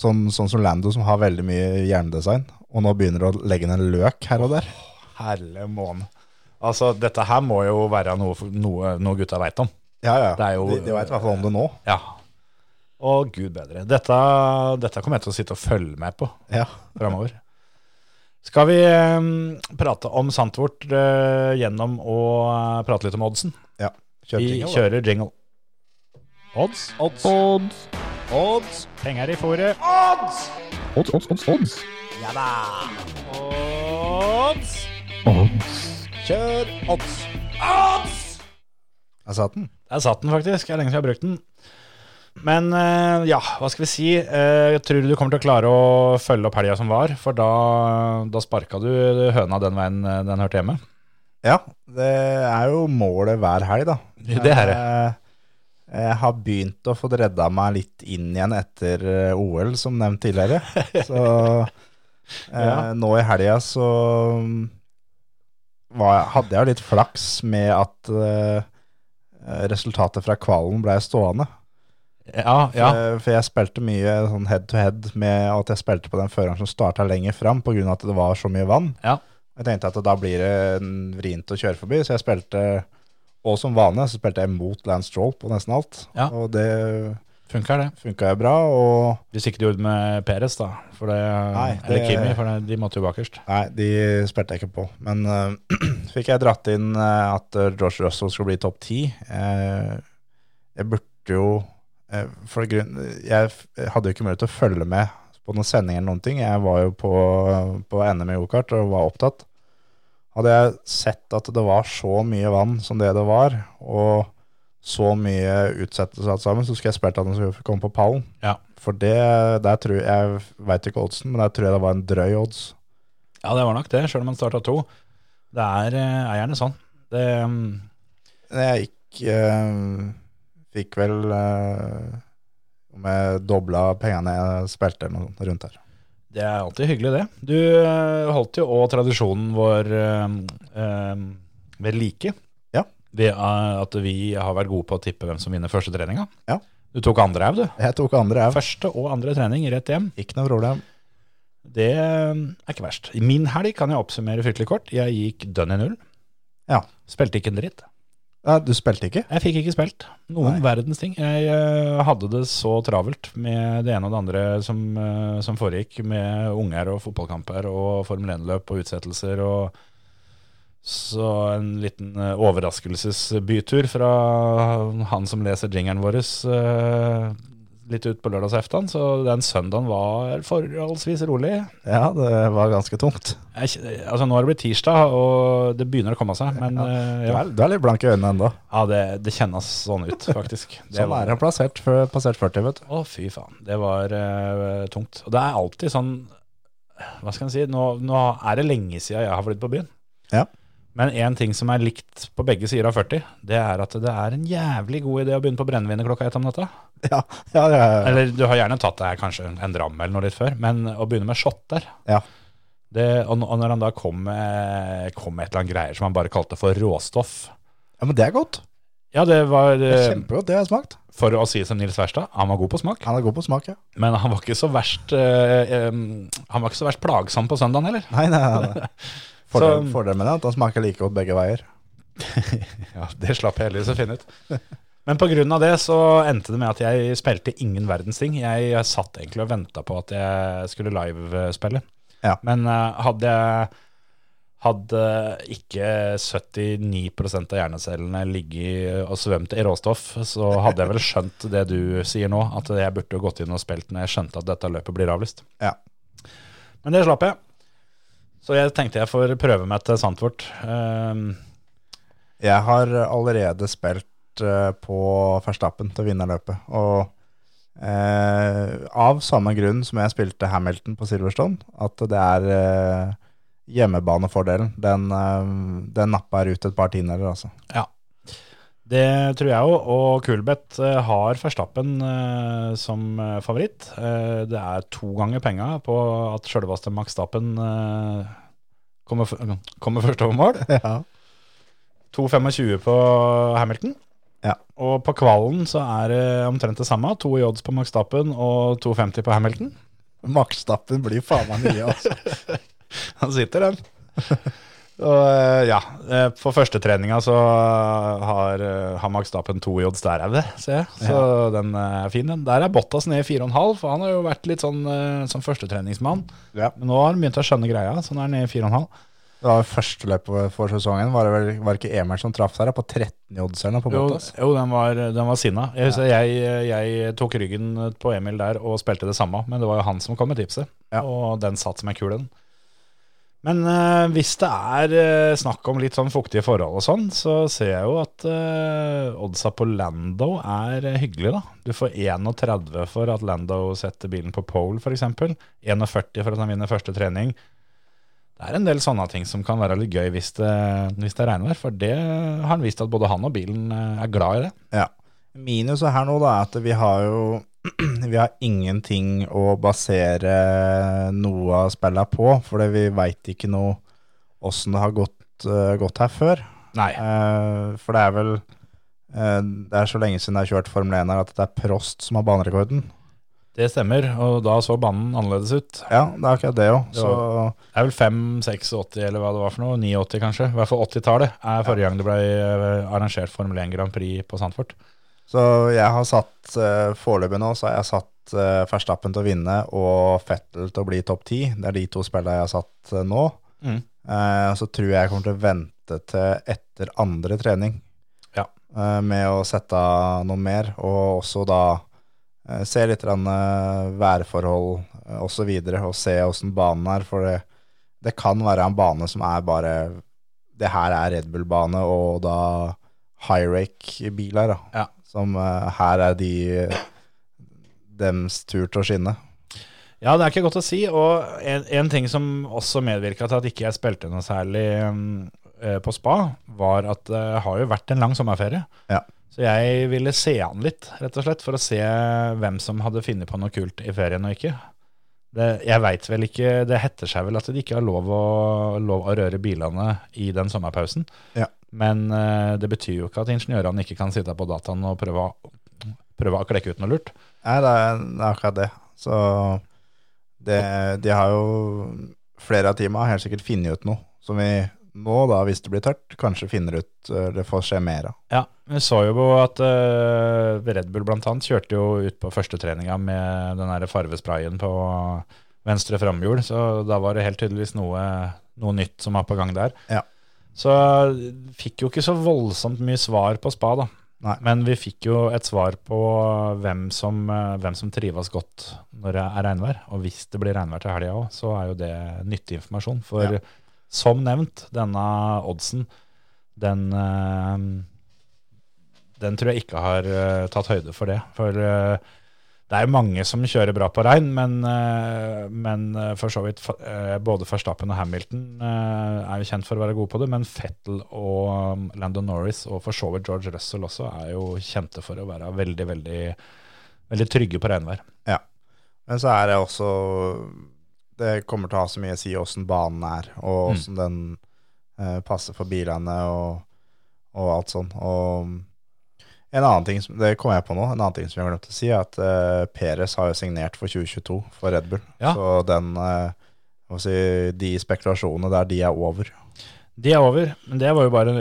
Speaker 5: sånn, sånn som Lando, som har veldig mye hjernedesign, og nå begynner å legge ned løk her og der.
Speaker 1: Herre måne. Altså, dette her må jo være noe, for- noe, noe gutta veit om.
Speaker 5: Ja, ja.
Speaker 1: Det er jo-
Speaker 5: de, de vet i hvert fall om det nå.
Speaker 1: Ja. Å, gud bedre. Dette, dette kommer jeg til å sitte og følge med på
Speaker 5: Ja.
Speaker 1: framover. Skal vi eh, prate om Santvort eh, gjennom å eh, prate litt om oddsen?
Speaker 5: ja. Kjør
Speaker 1: Vi
Speaker 5: jingle, da.
Speaker 1: kjører jingle. Odds. Odds. Odds. Odds. Penger i fôret.
Speaker 7: Odds, odds, odds, odds.
Speaker 1: Odds.
Speaker 5: Kjør odds! Odds! Jeg sa den.
Speaker 1: Der satt den faktisk. Det er lenge siden jeg har brukt den. Men eh, ja, hva skal vi si? Eh, Jeg tror du kommer til å klare å følge opp helga som var, for da, da sparka du høna den veien eh, den hørte hjemme.
Speaker 5: Ja, det er jo målet hver helg, da.
Speaker 1: Det er det.
Speaker 5: Jeg, jeg har begynt å få redda meg litt inn igjen etter eh, OL, som nevnt tidligere. Så eh,
Speaker 1: Ja.
Speaker 5: nå i helga så mm, var jeg, hadde jeg jo litt flaks med at eh, resultatet fra kvalen ble stående.
Speaker 1: Ja, ja.
Speaker 5: Eh, For jeg spilte mye sånn head to head med at jeg spilte på den føreren som starta lenger fram pga. at det var så mye vann.
Speaker 1: Ja.
Speaker 5: Jeg tenkte at da blir det en vrient å kjøre forbi, så jeg spilte Og som vane så spilte jeg mot Lance Stroll på nesten alt.
Speaker 1: Ja.
Speaker 5: Og det
Speaker 1: Funker det.
Speaker 5: funka jo bra. Og
Speaker 1: Hvis ikke du gjorde det med Peres, da. For det,
Speaker 5: Nei, det-
Speaker 1: Eller Kimi, for det, de måtte jo bakerst.
Speaker 5: nei, de spilte jeg ikke på. Men eh, fikk jeg dratt inn eh, at eh, George Russell skulle bli topp ti. Eh, jeg burde jo eh, For grunn, jeg f- hadde jo ikke mulighet til å følge med på noen sending eller noen ting. Jeg var jo på, på NM i gokart og var opptatt. Hadde jeg sett at det var så mye vann som det det var, og så mye utsettelse alt sammen, så skulle jeg spilt at han skulle komme på pallen.
Speaker 1: Ja.
Speaker 5: For det, der tror jeg, jeg veit ikke oddsen, men der tror jeg det var en drøy odds.
Speaker 1: Ja, det var nok det, sjøl om han starta to. Det er, eh, er gjerne sånn. Det, mm,
Speaker 5: Jeg gikk eh, Fikk vel eh, Om jeg dobla pengene jeg spilte eller noe sånt rundt her.
Speaker 1: det er alltid hyggelig, det. Du eh, holdt jo òg tradisjonen vår eh, eh, ved like.
Speaker 5: Ja.
Speaker 1: Ved eh, at vi har vært gode på å tippe hvem som vinner første treninga.
Speaker 5: Ja.
Speaker 1: Du tok andre au, du.
Speaker 5: Jeg tok andre jeg.
Speaker 1: Første og andre trening rett hjem.
Speaker 5: Ikke noe problem.
Speaker 1: Det eh, er ikke verst. I min helg kan jeg oppsummere fryktelig kort. Jeg gikk dønn i null.
Speaker 5: Ja.
Speaker 1: Spilte ikke en dritt.
Speaker 5: Ja, du spilte ikke?
Speaker 1: Jeg fikk ikke spilt noen
Speaker 5: Nei.
Speaker 1: verdens ting. Jeg eh, hadde det så travelt med det ene og det andre som, eh, som foregikk, med unger og fotballkamper og Formel 1-løp og utsettelser. og Så en liten eh, overraskelsesbytur fra han som leser jingeren vår eh, litt ut på lørdagseftan. Så den søndagen var forholdsvis rolig.
Speaker 5: Ja, det var ganske tungt.
Speaker 1: Jeg, kj- altså Nå har det blitt tirsdag, og det begynner å komme seg. Men eh,
Speaker 5: Du
Speaker 1: ja,
Speaker 5: er, du er litt blank i øynene ennå.
Speaker 1: ja det, det kjennes sånn ut, faktisk. Det
Speaker 5: Sånn
Speaker 1: var-
Speaker 5: er det plassert, før- passert 40, vet du.
Speaker 1: Å, fy faen. Det var eh, tungt. Og det er alltid sånn Hva skal en si? Nå, nå er det lenge siden jeg har blitt på byen.
Speaker 5: Ja.
Speaker 1: Men én ting som er likt på begge sider av 40, det er at det er en jævlig god idé å begynne på brennevinet klokka ett om natta.
Speaker 5: Ja, ja, ja, ja.
Speaker 1: Eller du har gjerne tatt deg kanskje en dram eller noe litt før, men å begynne med shotter
Speaker 5: Ja.
Speaker 1: det, og, og når han da kom med, kom med et eller annet greier som han bare kalte for råstoff
Speaker 5: ja, men det er godt.
Speaker 1: Ja, det var
Speaker 5: Det er
Speaker 1: eh,
Speaker 5: kjempegodt, det har jeg smakt.
Speaker 1: For å si som Nils Verstad, han var god på smak.
Speaker 5: Han er god på smak, ja.
Speaker 1: Men han var ikke så verst, eh, eh, han var ikke så verst plagsom på søndagen heller.
Speaker 5: Nei, nei, nei, nei. Fordel,
Speaker 1: Så-
Speaker 5: fordelen med det er at han smaker like godt begge veier.
Speaker 1: Ja, Det slapp jeg heldigvis å finne ut. Men pga. det så endte det med at jeg spilte ingen verdens ting. Jeg, jeg satt egentlig og venta på at jeg skulle livespille.
Speaker 5: Ja.
Speaker 1: Men eh, hadde jeg hadde ikke 79 av hjernecellene ligget og svømt i råstoff, så hadde jeg vel skjønt det du sier nå, at jeg burde jo gått inn og spilt når jeg skjønte at dette løpet blir avlyst.
Speaker 5: Ja.
Speaker 1: Men det slapp jeg. Så jeg tenkte jeg får prøve meg til Sandfort. Um,
Speaker 5: Jeg har allerede spilt eh, på Verstappen til å vinne løpet. Og eh, av samme grunn som jeg spilte Hamilton på Silverstone, at det er eh, hjemmebanefordelen. Den, eh, den napper ut et par tiendedeler, altså.
Speaker 1: Det tror jeg òg, og Kulbeth eh, har Verstappen eh, som eh, favoritt. Eh, Det er to ganger penga på at sjølveste Max Stappen eh, kommer, f- kommer først over mål.
Speaker 5: Ja.
Speaker 1: 2,25 på Hamilton.
Speaker 5: Ja.
Speaker 1: Og på kvalen så er det omtrent det samme. To i odds på Max Stappen og 2,50 på Hamilton.
Speaker 5: Makstappen blir faen meg mye, altså.
Speaker 1: Han sitter, den. Og eh, ja, eh, på første treninga så har, eh, har Max Stappen to i odds der au, det, ser jeg. Så den eh, er fin, den. Der er Bottas nede i fire og en halv, for han har jo vært litt sånn, eh, sånn førstetreningsmann.
Speaker 5: Ja.
Speaker 1: Men nå har han begynt å skjønne greia, så nå er han nede i fire og en halv.
Speaker 5: Det var første løpet for sesongen. Var det vel var det ikke Emil som traff der, da, på 13 i odds eller noe på
Speaker 1: Jo,
Speaker 5: Bottas?
Speaker 1: jo den, var, den var sinna. Jeg, husker jeg, jeg tok ryggen på Emil der og spilte det samme, men det var jo han som kom med tipset.
Speaker 5: Ja.
Speaker 1: Og den satt som en kul, den. Men eh, hvis det er eh, snakk om litt sånn fuktige forhold og sånn, så ser jeg jo at eh, oddsa på Lando er eh, hyggelig, da. Du får 31 for at Lando setter bilen på pole, f.eks. 41 for at han vinner første trening. Det er en del sånne ting som kan være litt gøy hvis det, hvis det regner, for det har han vist at både han og bilen eh, er glad i det.
Speaker 5: Ja. Minuset her nå da, er at vi har jo vi har ingenting å basere noe av spillene på, for vi veit ikke noe åssen det har gått, eh, gått her før.
Speaker 1: Nei.
Speaker 5: Eh, for det er vel eh, Det er så lenge siden jeg har kjørt Formel 1 her at det er Prost som har banerekorden.
Speaker 1: Det stemmer, og da så banen annerledes ut.
Speaker 5: Ja, det er akkurat det òg.
Speaker 1: Det
Speaker 5: Så
Speaker 1: Det er vel 5, 86, 80, eller hva det var for noe, 89 kanskje, i hvert fall 80-tallet er forrige gang det ble eh, arrangert Formel 1 Grand Prix på Sandfort.
Speaker 5: Så jeg har satt uh, foreløpig nå, så har jeg satt uh, Verstappen til å vinne og Fettel til å bli topp ti. Det er de to spillene jeg har satt eh, nå.
Speaker 1: Mm.
Speaker 5: Eh, så tror jeg jeg kommer til å vente til etter andre trening
Speaker 1: Ja.
Speaker 5: eh, med å sette av noe mer, og også da eh, se litt grann, eh, værforhold eh, og så videre, og se åssen banen er. For det, det kan være en bane som er bare Det her er Red Bull-bane, og da high-rake-biler, da.
Speaker 1: Ja.
Speaker 5: Som eh, her er de dems tur til å skinne.
Speaker 1: Ja, det er ikke godt å si, og en, en ting som også medvirka til at ikke jeg spilte noe særlig mm, eh, på spa, var at det har jo vært en lang sommerferie.
Speaker 5: Ja.
Speaker 1: Så jeg ville se an litt, rett og slett, for å se hvem som hadde funnet på noe kult i ferien og ikke. Det, jeg veit vel ikke Det heter seg vel at de ikke har lov å, lov å røre bilene i den sommerpausen.
Speaker 5: Ja.
Speaker 1: Men eh, det betyr jo ikke at ingeniørene ikke kan sitte på dataen og prøve å, prøve å klekke ut noe lurt.
Speaker 5: Nei, det er, det er akkurat det. Så det, de har jo flere av teama har helt sikkert funnet ut noe som vi nå, da, hvis det blir tørt, kanskje finner ut eh, det får skje mer av.
Speaker 1: Ja, vi så jo at eh, Red Bull blant annet kjørte jo ut på første treninga med den der farvesprayen på venstre framhjul, så da var det helt tydeligvis noe, noe nytt som var på gang der.
Speaker 5: Ja.
Speaker 1: Så fikk jo ikke så voldsomt mye svar på spa, da.
Speaker 5: Nei.
Speaker 1: Men vi fikk jo et svar på hvem som, eh, hvem som trives godt når det er regnvær. Og hvis det blir regnvær til helga òg, så er jo det nyttig informasjon. For
Speaker 5: Ja.
Speaker 1: som nevnt, denne oddsen, den eh, den tror jeg ikke har eh, tatt høyde for det. For eh, Det er jo mange som kjører bra på regn, men, eh, men eh, for så vidt eh, både Verstappen og Hamilton eh, er jo kjent for å være gode på det, men Fettel og um, Landon Norris og for så vidt George Russell også er jo kjente for å være veldig, veldig, veldig trygge på regnvær.
Speaker 5: Ja. Men så er det også Det kommer til å ha så mye å si åssen banen er, og åssen den eh, passer for bilene og, og alt sånn. Og en annen ting som, det kom jeg på nå, en annen ting som jeg glemte å si, er at eh, Peres har jo signert for 2022 for Red Bull.
Speaker 1: Ja.
Speaker 5: Så den eh, hva skal jeg si, De spekulasjonene der, de er over.
Speaker 1: De er over, men det var jo bare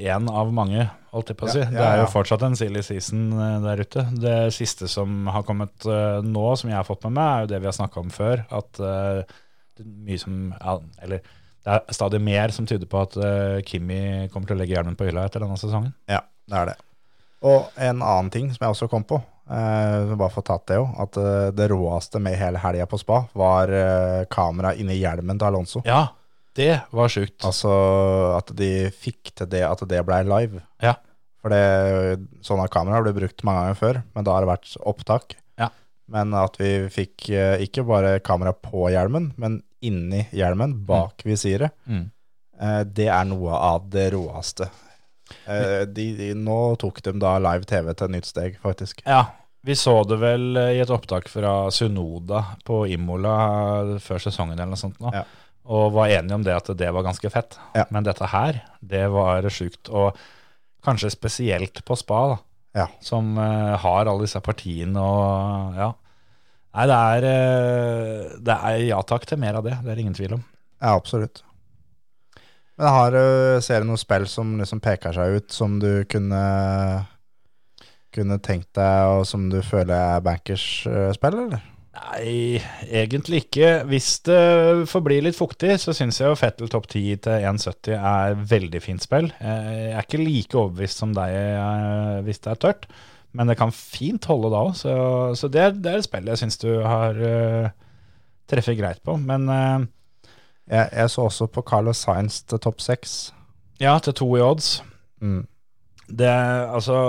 Speaker 1: én av mange, holdt jeg på å si.
Speaker 5: Ja, ja,
Speaker 1: Det er jo
Speaker 5: ja.
Speaker 1: fortsatt en silly season eh, der ute. Det siste som har kommet eh, nå, som jeg har fått med meg, er jo det vi har snakka om før. At eh, det er mye som ja, Eller det er stadig mer som tyder på at eh, Kimi kommer til å legge hjelmen på hylla etter denne sesongen.
Speaker 5: Ja, det er det. Og en annen ting som jeg også kom på, eh, bare for å tatt det jo, at eh, det råeste med hele helga på spa var eh, kamera inni hjelmen til Alonso.
Speaker 1: Ja, det var sjukt.
Speaker 5: Altså at de fikk til det at det blei live.
Speaker 1: Ja.
Speaker 5: For det, sånne kameraer ble brukt mange ganger før, men da har det vært opptak.
Speaker 1: Ja.
Speaker 5: Men at vi fikk eh, ikke bare kamera på hjelmen, men inni hjelmen, bak visiret,
Speaker 1: Mm.
Speaker 5: eh, det er noe av det råeste. Eh, de, de, nå tok de da live TV til et nytt steg, faktisk.
Speaker 1: Ja, vi så det vel eh, i et opptak fra Sunoda på Imola eh, før sesongen eller noe sånt nå.
Speaker 5: Ja.
Speaker 1: Og var enige om det at det var ganske fett.
Speaker 5: Ja.
Speaker 1: Men dette her, det var sjukt. Og kanskje spesielt på spa, da.
Speaker 5: Ja.
Speaker 1: Som eh, har alle disse partiene og ja. Nei, det er, eh, det er ja takk til mer av det. Det er det ingen tvil om.
Speaker 5: Ja, absolutt. Men har, du- ser du noen spill som liksom peker seg ut, som du kunne, kunne tenkt deg, og som du føler er bankers-spill, eller?
Speaker 1: Nei, egentlig ikke. Hvis det forblir litt fuktig, så syns jeg jo Fettel topp 10 til 1,70 er veldig fint spill. Eh, Jeg er ikke like overbevist som deg eh, hvis det er tørt, men det kan fint holde da òg. Så, så det, er- det er et spill jeg syns du har eh, treffet greit på. Men eh,
Speaker 5: Jeg, jeg så også på Carlos Sainz til topp seks.
Speaker 1: ja, til to i odds.
Speaker 5: Mm.
Speaker 1: Det altså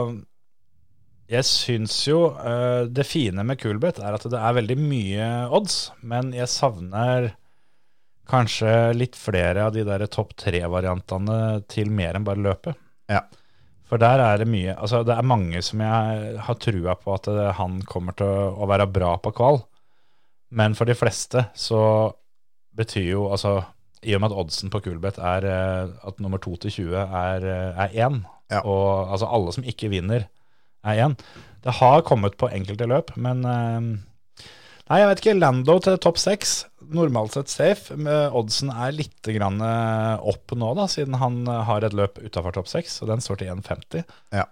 Speaker 1: Jeg syns jo eh, det fine med Coolbet er at det er veldig mye odds, men jeg savner kanskje litt flere av de der topp tre-variantene til mer enn bare løpet.
Speaker 5: Ja.
Speaker 1: For der er det mye Altså, det er mange som jeg har trua på at eh, han kommer til å- å være bra på kval, men for de fleste så betyr jo altså i og med at oddsen på Coolbet er eh, at nummer 2 til 20 er, eh, er 1,
Speaker 5: Ja.
Speaker 1: og altså alle som ikke vinner er 1. Det har kommet på enkelte løp, men eh, Nei, jeg vet ikke. Lando til topp 6, normalt sett safe. men eh, Oddsen er litt grann eh, opp nå, da, siden han eh, har et løp utafor topp 6, og den står til 1,50.
Speaker 5: Ja.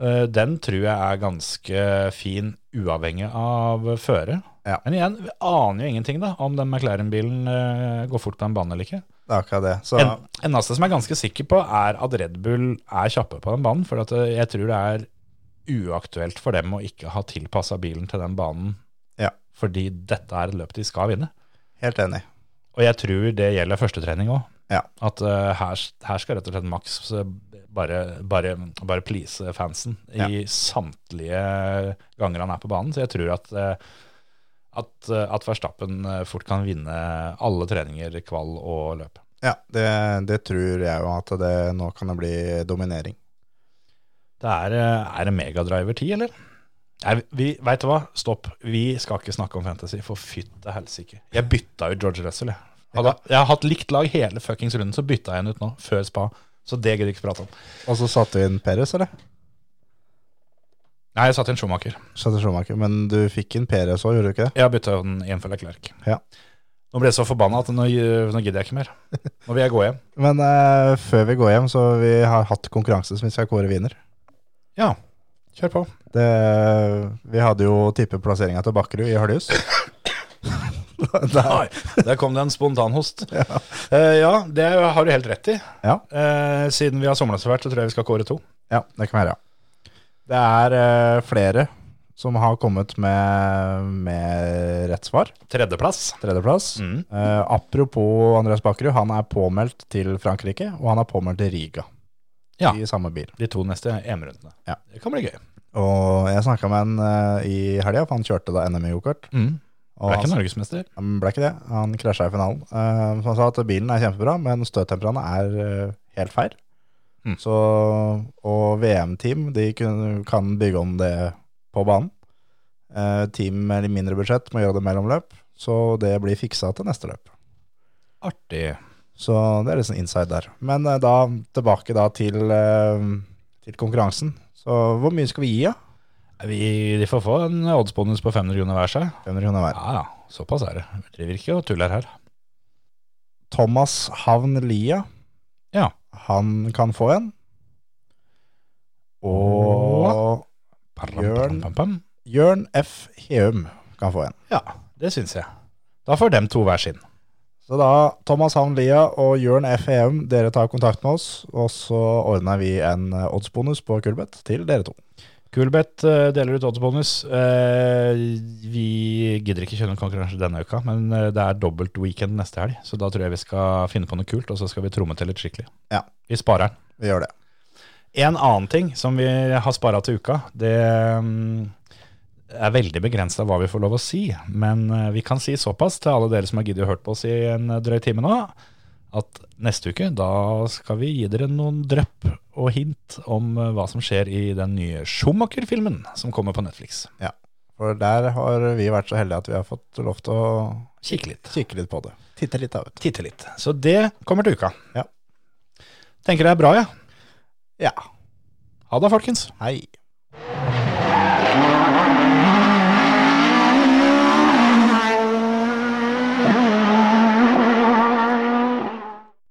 Speaker 1: Eh, Den tror jeg er ganske fin, uavhengig av føre.
Speaker 5: Ja.
Speaker 1: Men igjen, vi aner jo ingenting da, om den McLaren-bilen eh, går fort på en bane eller ikke.
Speaker 5: Det er akkurat det. Så
Speaker 1: En, eneste som jeg er ganske sikker på, er at Red Bull er kjappe på den banen. For at eh, jeg tror det er uaktuelt for dem å ikke ha tilpassa bilen til den banen.
Speaker 5: Ja.
Speaker 1: Fordi dette er et løp de skal vinne.
Speaker 5: helt enig.
Speaker 1: Og jeg tror det gjelder førstetrening òg.
Speaker 5: Ja.
Speaker 1: At eh, her, her skal rett og slett Max eh, bare, bare, bare please fansen i samtlige ganger han er på banen. Så jeg tror at, eh, at, eh, at Verstappen eh, fort kan vinne alle treninger, kval og løp.
Speaker 5: Ja, det, det tror jeg jo at det, nå kan det bli dominering.
Speaker 1: Det er, eh, er det Megadriver 10, eller? Nei, vi, vet du hva? Stopp. Vi skal ikke snakke om fantasy, for fytte helsike. Jeg bytta ut George Russell, jeg. Hadde, jeg har hatt likt lag hele fuckings runden, så bytta jeg en ut nå, før spa. Så det gidder jeg ikke prate om.
Speaker 5: Og så satte vi inn Peres, eller?
Speaker 1: Nei, jeg satt i en Schumacher.
Speaker 5: Satte Schumacher, men du fikk inn Peres òg, gjorde du ikke det?
Speaker 1: Jeg bytta jo den i en for Leclerc.
Speaker 5: Ja.
Speaker 1: Nå ble jeg så forbanna at nå, eh, nå gidder jeg ikke mer. Nå vil jeg gå hjem.
Speaker 5: Men eh, før vi går hjem, så vi har hatt konkurranse som vi skal kåre vinner.
Speaker 1: Ja, kjør på.
Speaker 5: Det, vi hadde jo tippeplasseringa til Bakkerud i Høljus. Der-
Speaker 1: Nei, der kom det en spontanhost. Ja. ja, det har du helt rett i.
Speaker 5: Ja.
Speaker 1: Eh, siden vi har somla så fælt, så tror jeg vi skal kåre to.
Speaker 5: ja, det kan være. Ja. Det er eh, flere som har kommet med, med rett svar.
Speaker 1: Tredjeplass.
Speaker 5: Tredjeplass.
Speaker 1: Mm.
Speaker 5: Eh, apropos Andreas Bakkerud, han er påmeldt til Frankrike, og han er påmeldt til Riga.
Speaker 1: Ja.
Speaker 5: I samme bil.
Speaker 1: De to neste EM-rundene.
Speaker 5: Ja.
Speaker 1: Det kan bli gøy.
Speaker 5: Og jeg snakka med han eh, i helga, for han kjørte da NM i gokart.
Speaker 1: Mm.
Speaker 5: Og
Speaker 1: Ble ikke
Speaker 5: han-
Speaker 1: norgesmester.
Speaker 5: Han Mm, ble ikke det. Han krasja i finalen. Eh, han sa at bilen er kjempebra, men støttemperaene er eh, helt feil.
Speaker 1: Mm.
Speaker 5: Så, og VM-team de kun, kan bygge om det på banen. Eh, team med litt mindre budsjett må gjøre det mellomløp, så det blir fiksa til neste løp.
Speaker 1: Artig.
Speaker 5: Så det er litt sånn inside der. Men eh, da tilbake da til, eh, til konkurransen. Så hvor mye skal vi gi, da?
Speaker 1: Vi, de får få en oddsbonus på 500 kroner hver seg.
Speaker 5: 500 kroner hver.
Speaker 1: Ja, ja. Såpass er det. Vi driver ikke og tuller her.
Speaker 5: Thomas Havn Lia,
Speaker 1: Ja.
Speaker 5: han kan få en. Og
Speaker 1: Pam,
Speaker 5: Bjørn.
Speaker 1: pam, pam.
Speaker 5: Jørn F. Heum kan få en.
Speaker 1: Ja, det syns jeg. Da får dem to hver sin.
Speaker 5: Så da, Thomas Havn Lia og Jørn F. Heum, dere tar kontakt med oss, og så ordner vi en eh, oddsbonus på Kulbeth til dere to.
Speaker 1: Kulbeth eh, deler ut oddsbonus. Eh, Vi gidder ikke kjøre noen konkurranse denne uka, men eh, det er dobbelt weekend neste helg, så da tror jeg vi skal finne på noe kult, og så skal vi tromme til litt skikkelig.
Speaker 5: Ja.
Speaker 1: Vi sparer den.
Speaker 5: Vi gjør det.
Speaker 1: En annen ting som vi har spara til uka, det mm, er veldig begrensa hva vi får lov å si, men eh, vi kan si såpass til alle dere som har giddet å hørt på oss i en eh, drøy time nå, at neste uke da skal vi gi dere noen drypp og hint om eh, hva som skjer i den nye Schumacher-filmen som kommer på Netflix.
Speaker 5: For der har vi vært så heldige at vi har fått lov til å
Speaker 1: Kikke litt.
Speaker 5: kikke litt på det. Titte litt, da, vet du.
Speaker 1: Titte litt. Så det kommer til uka.
Speaker 5: Ja.
Speaker 1: Tenker det er bra, ja.
Speaker 5: Ja.
Speaker 1: Ha det, folkens.
Speaker 5: Hei.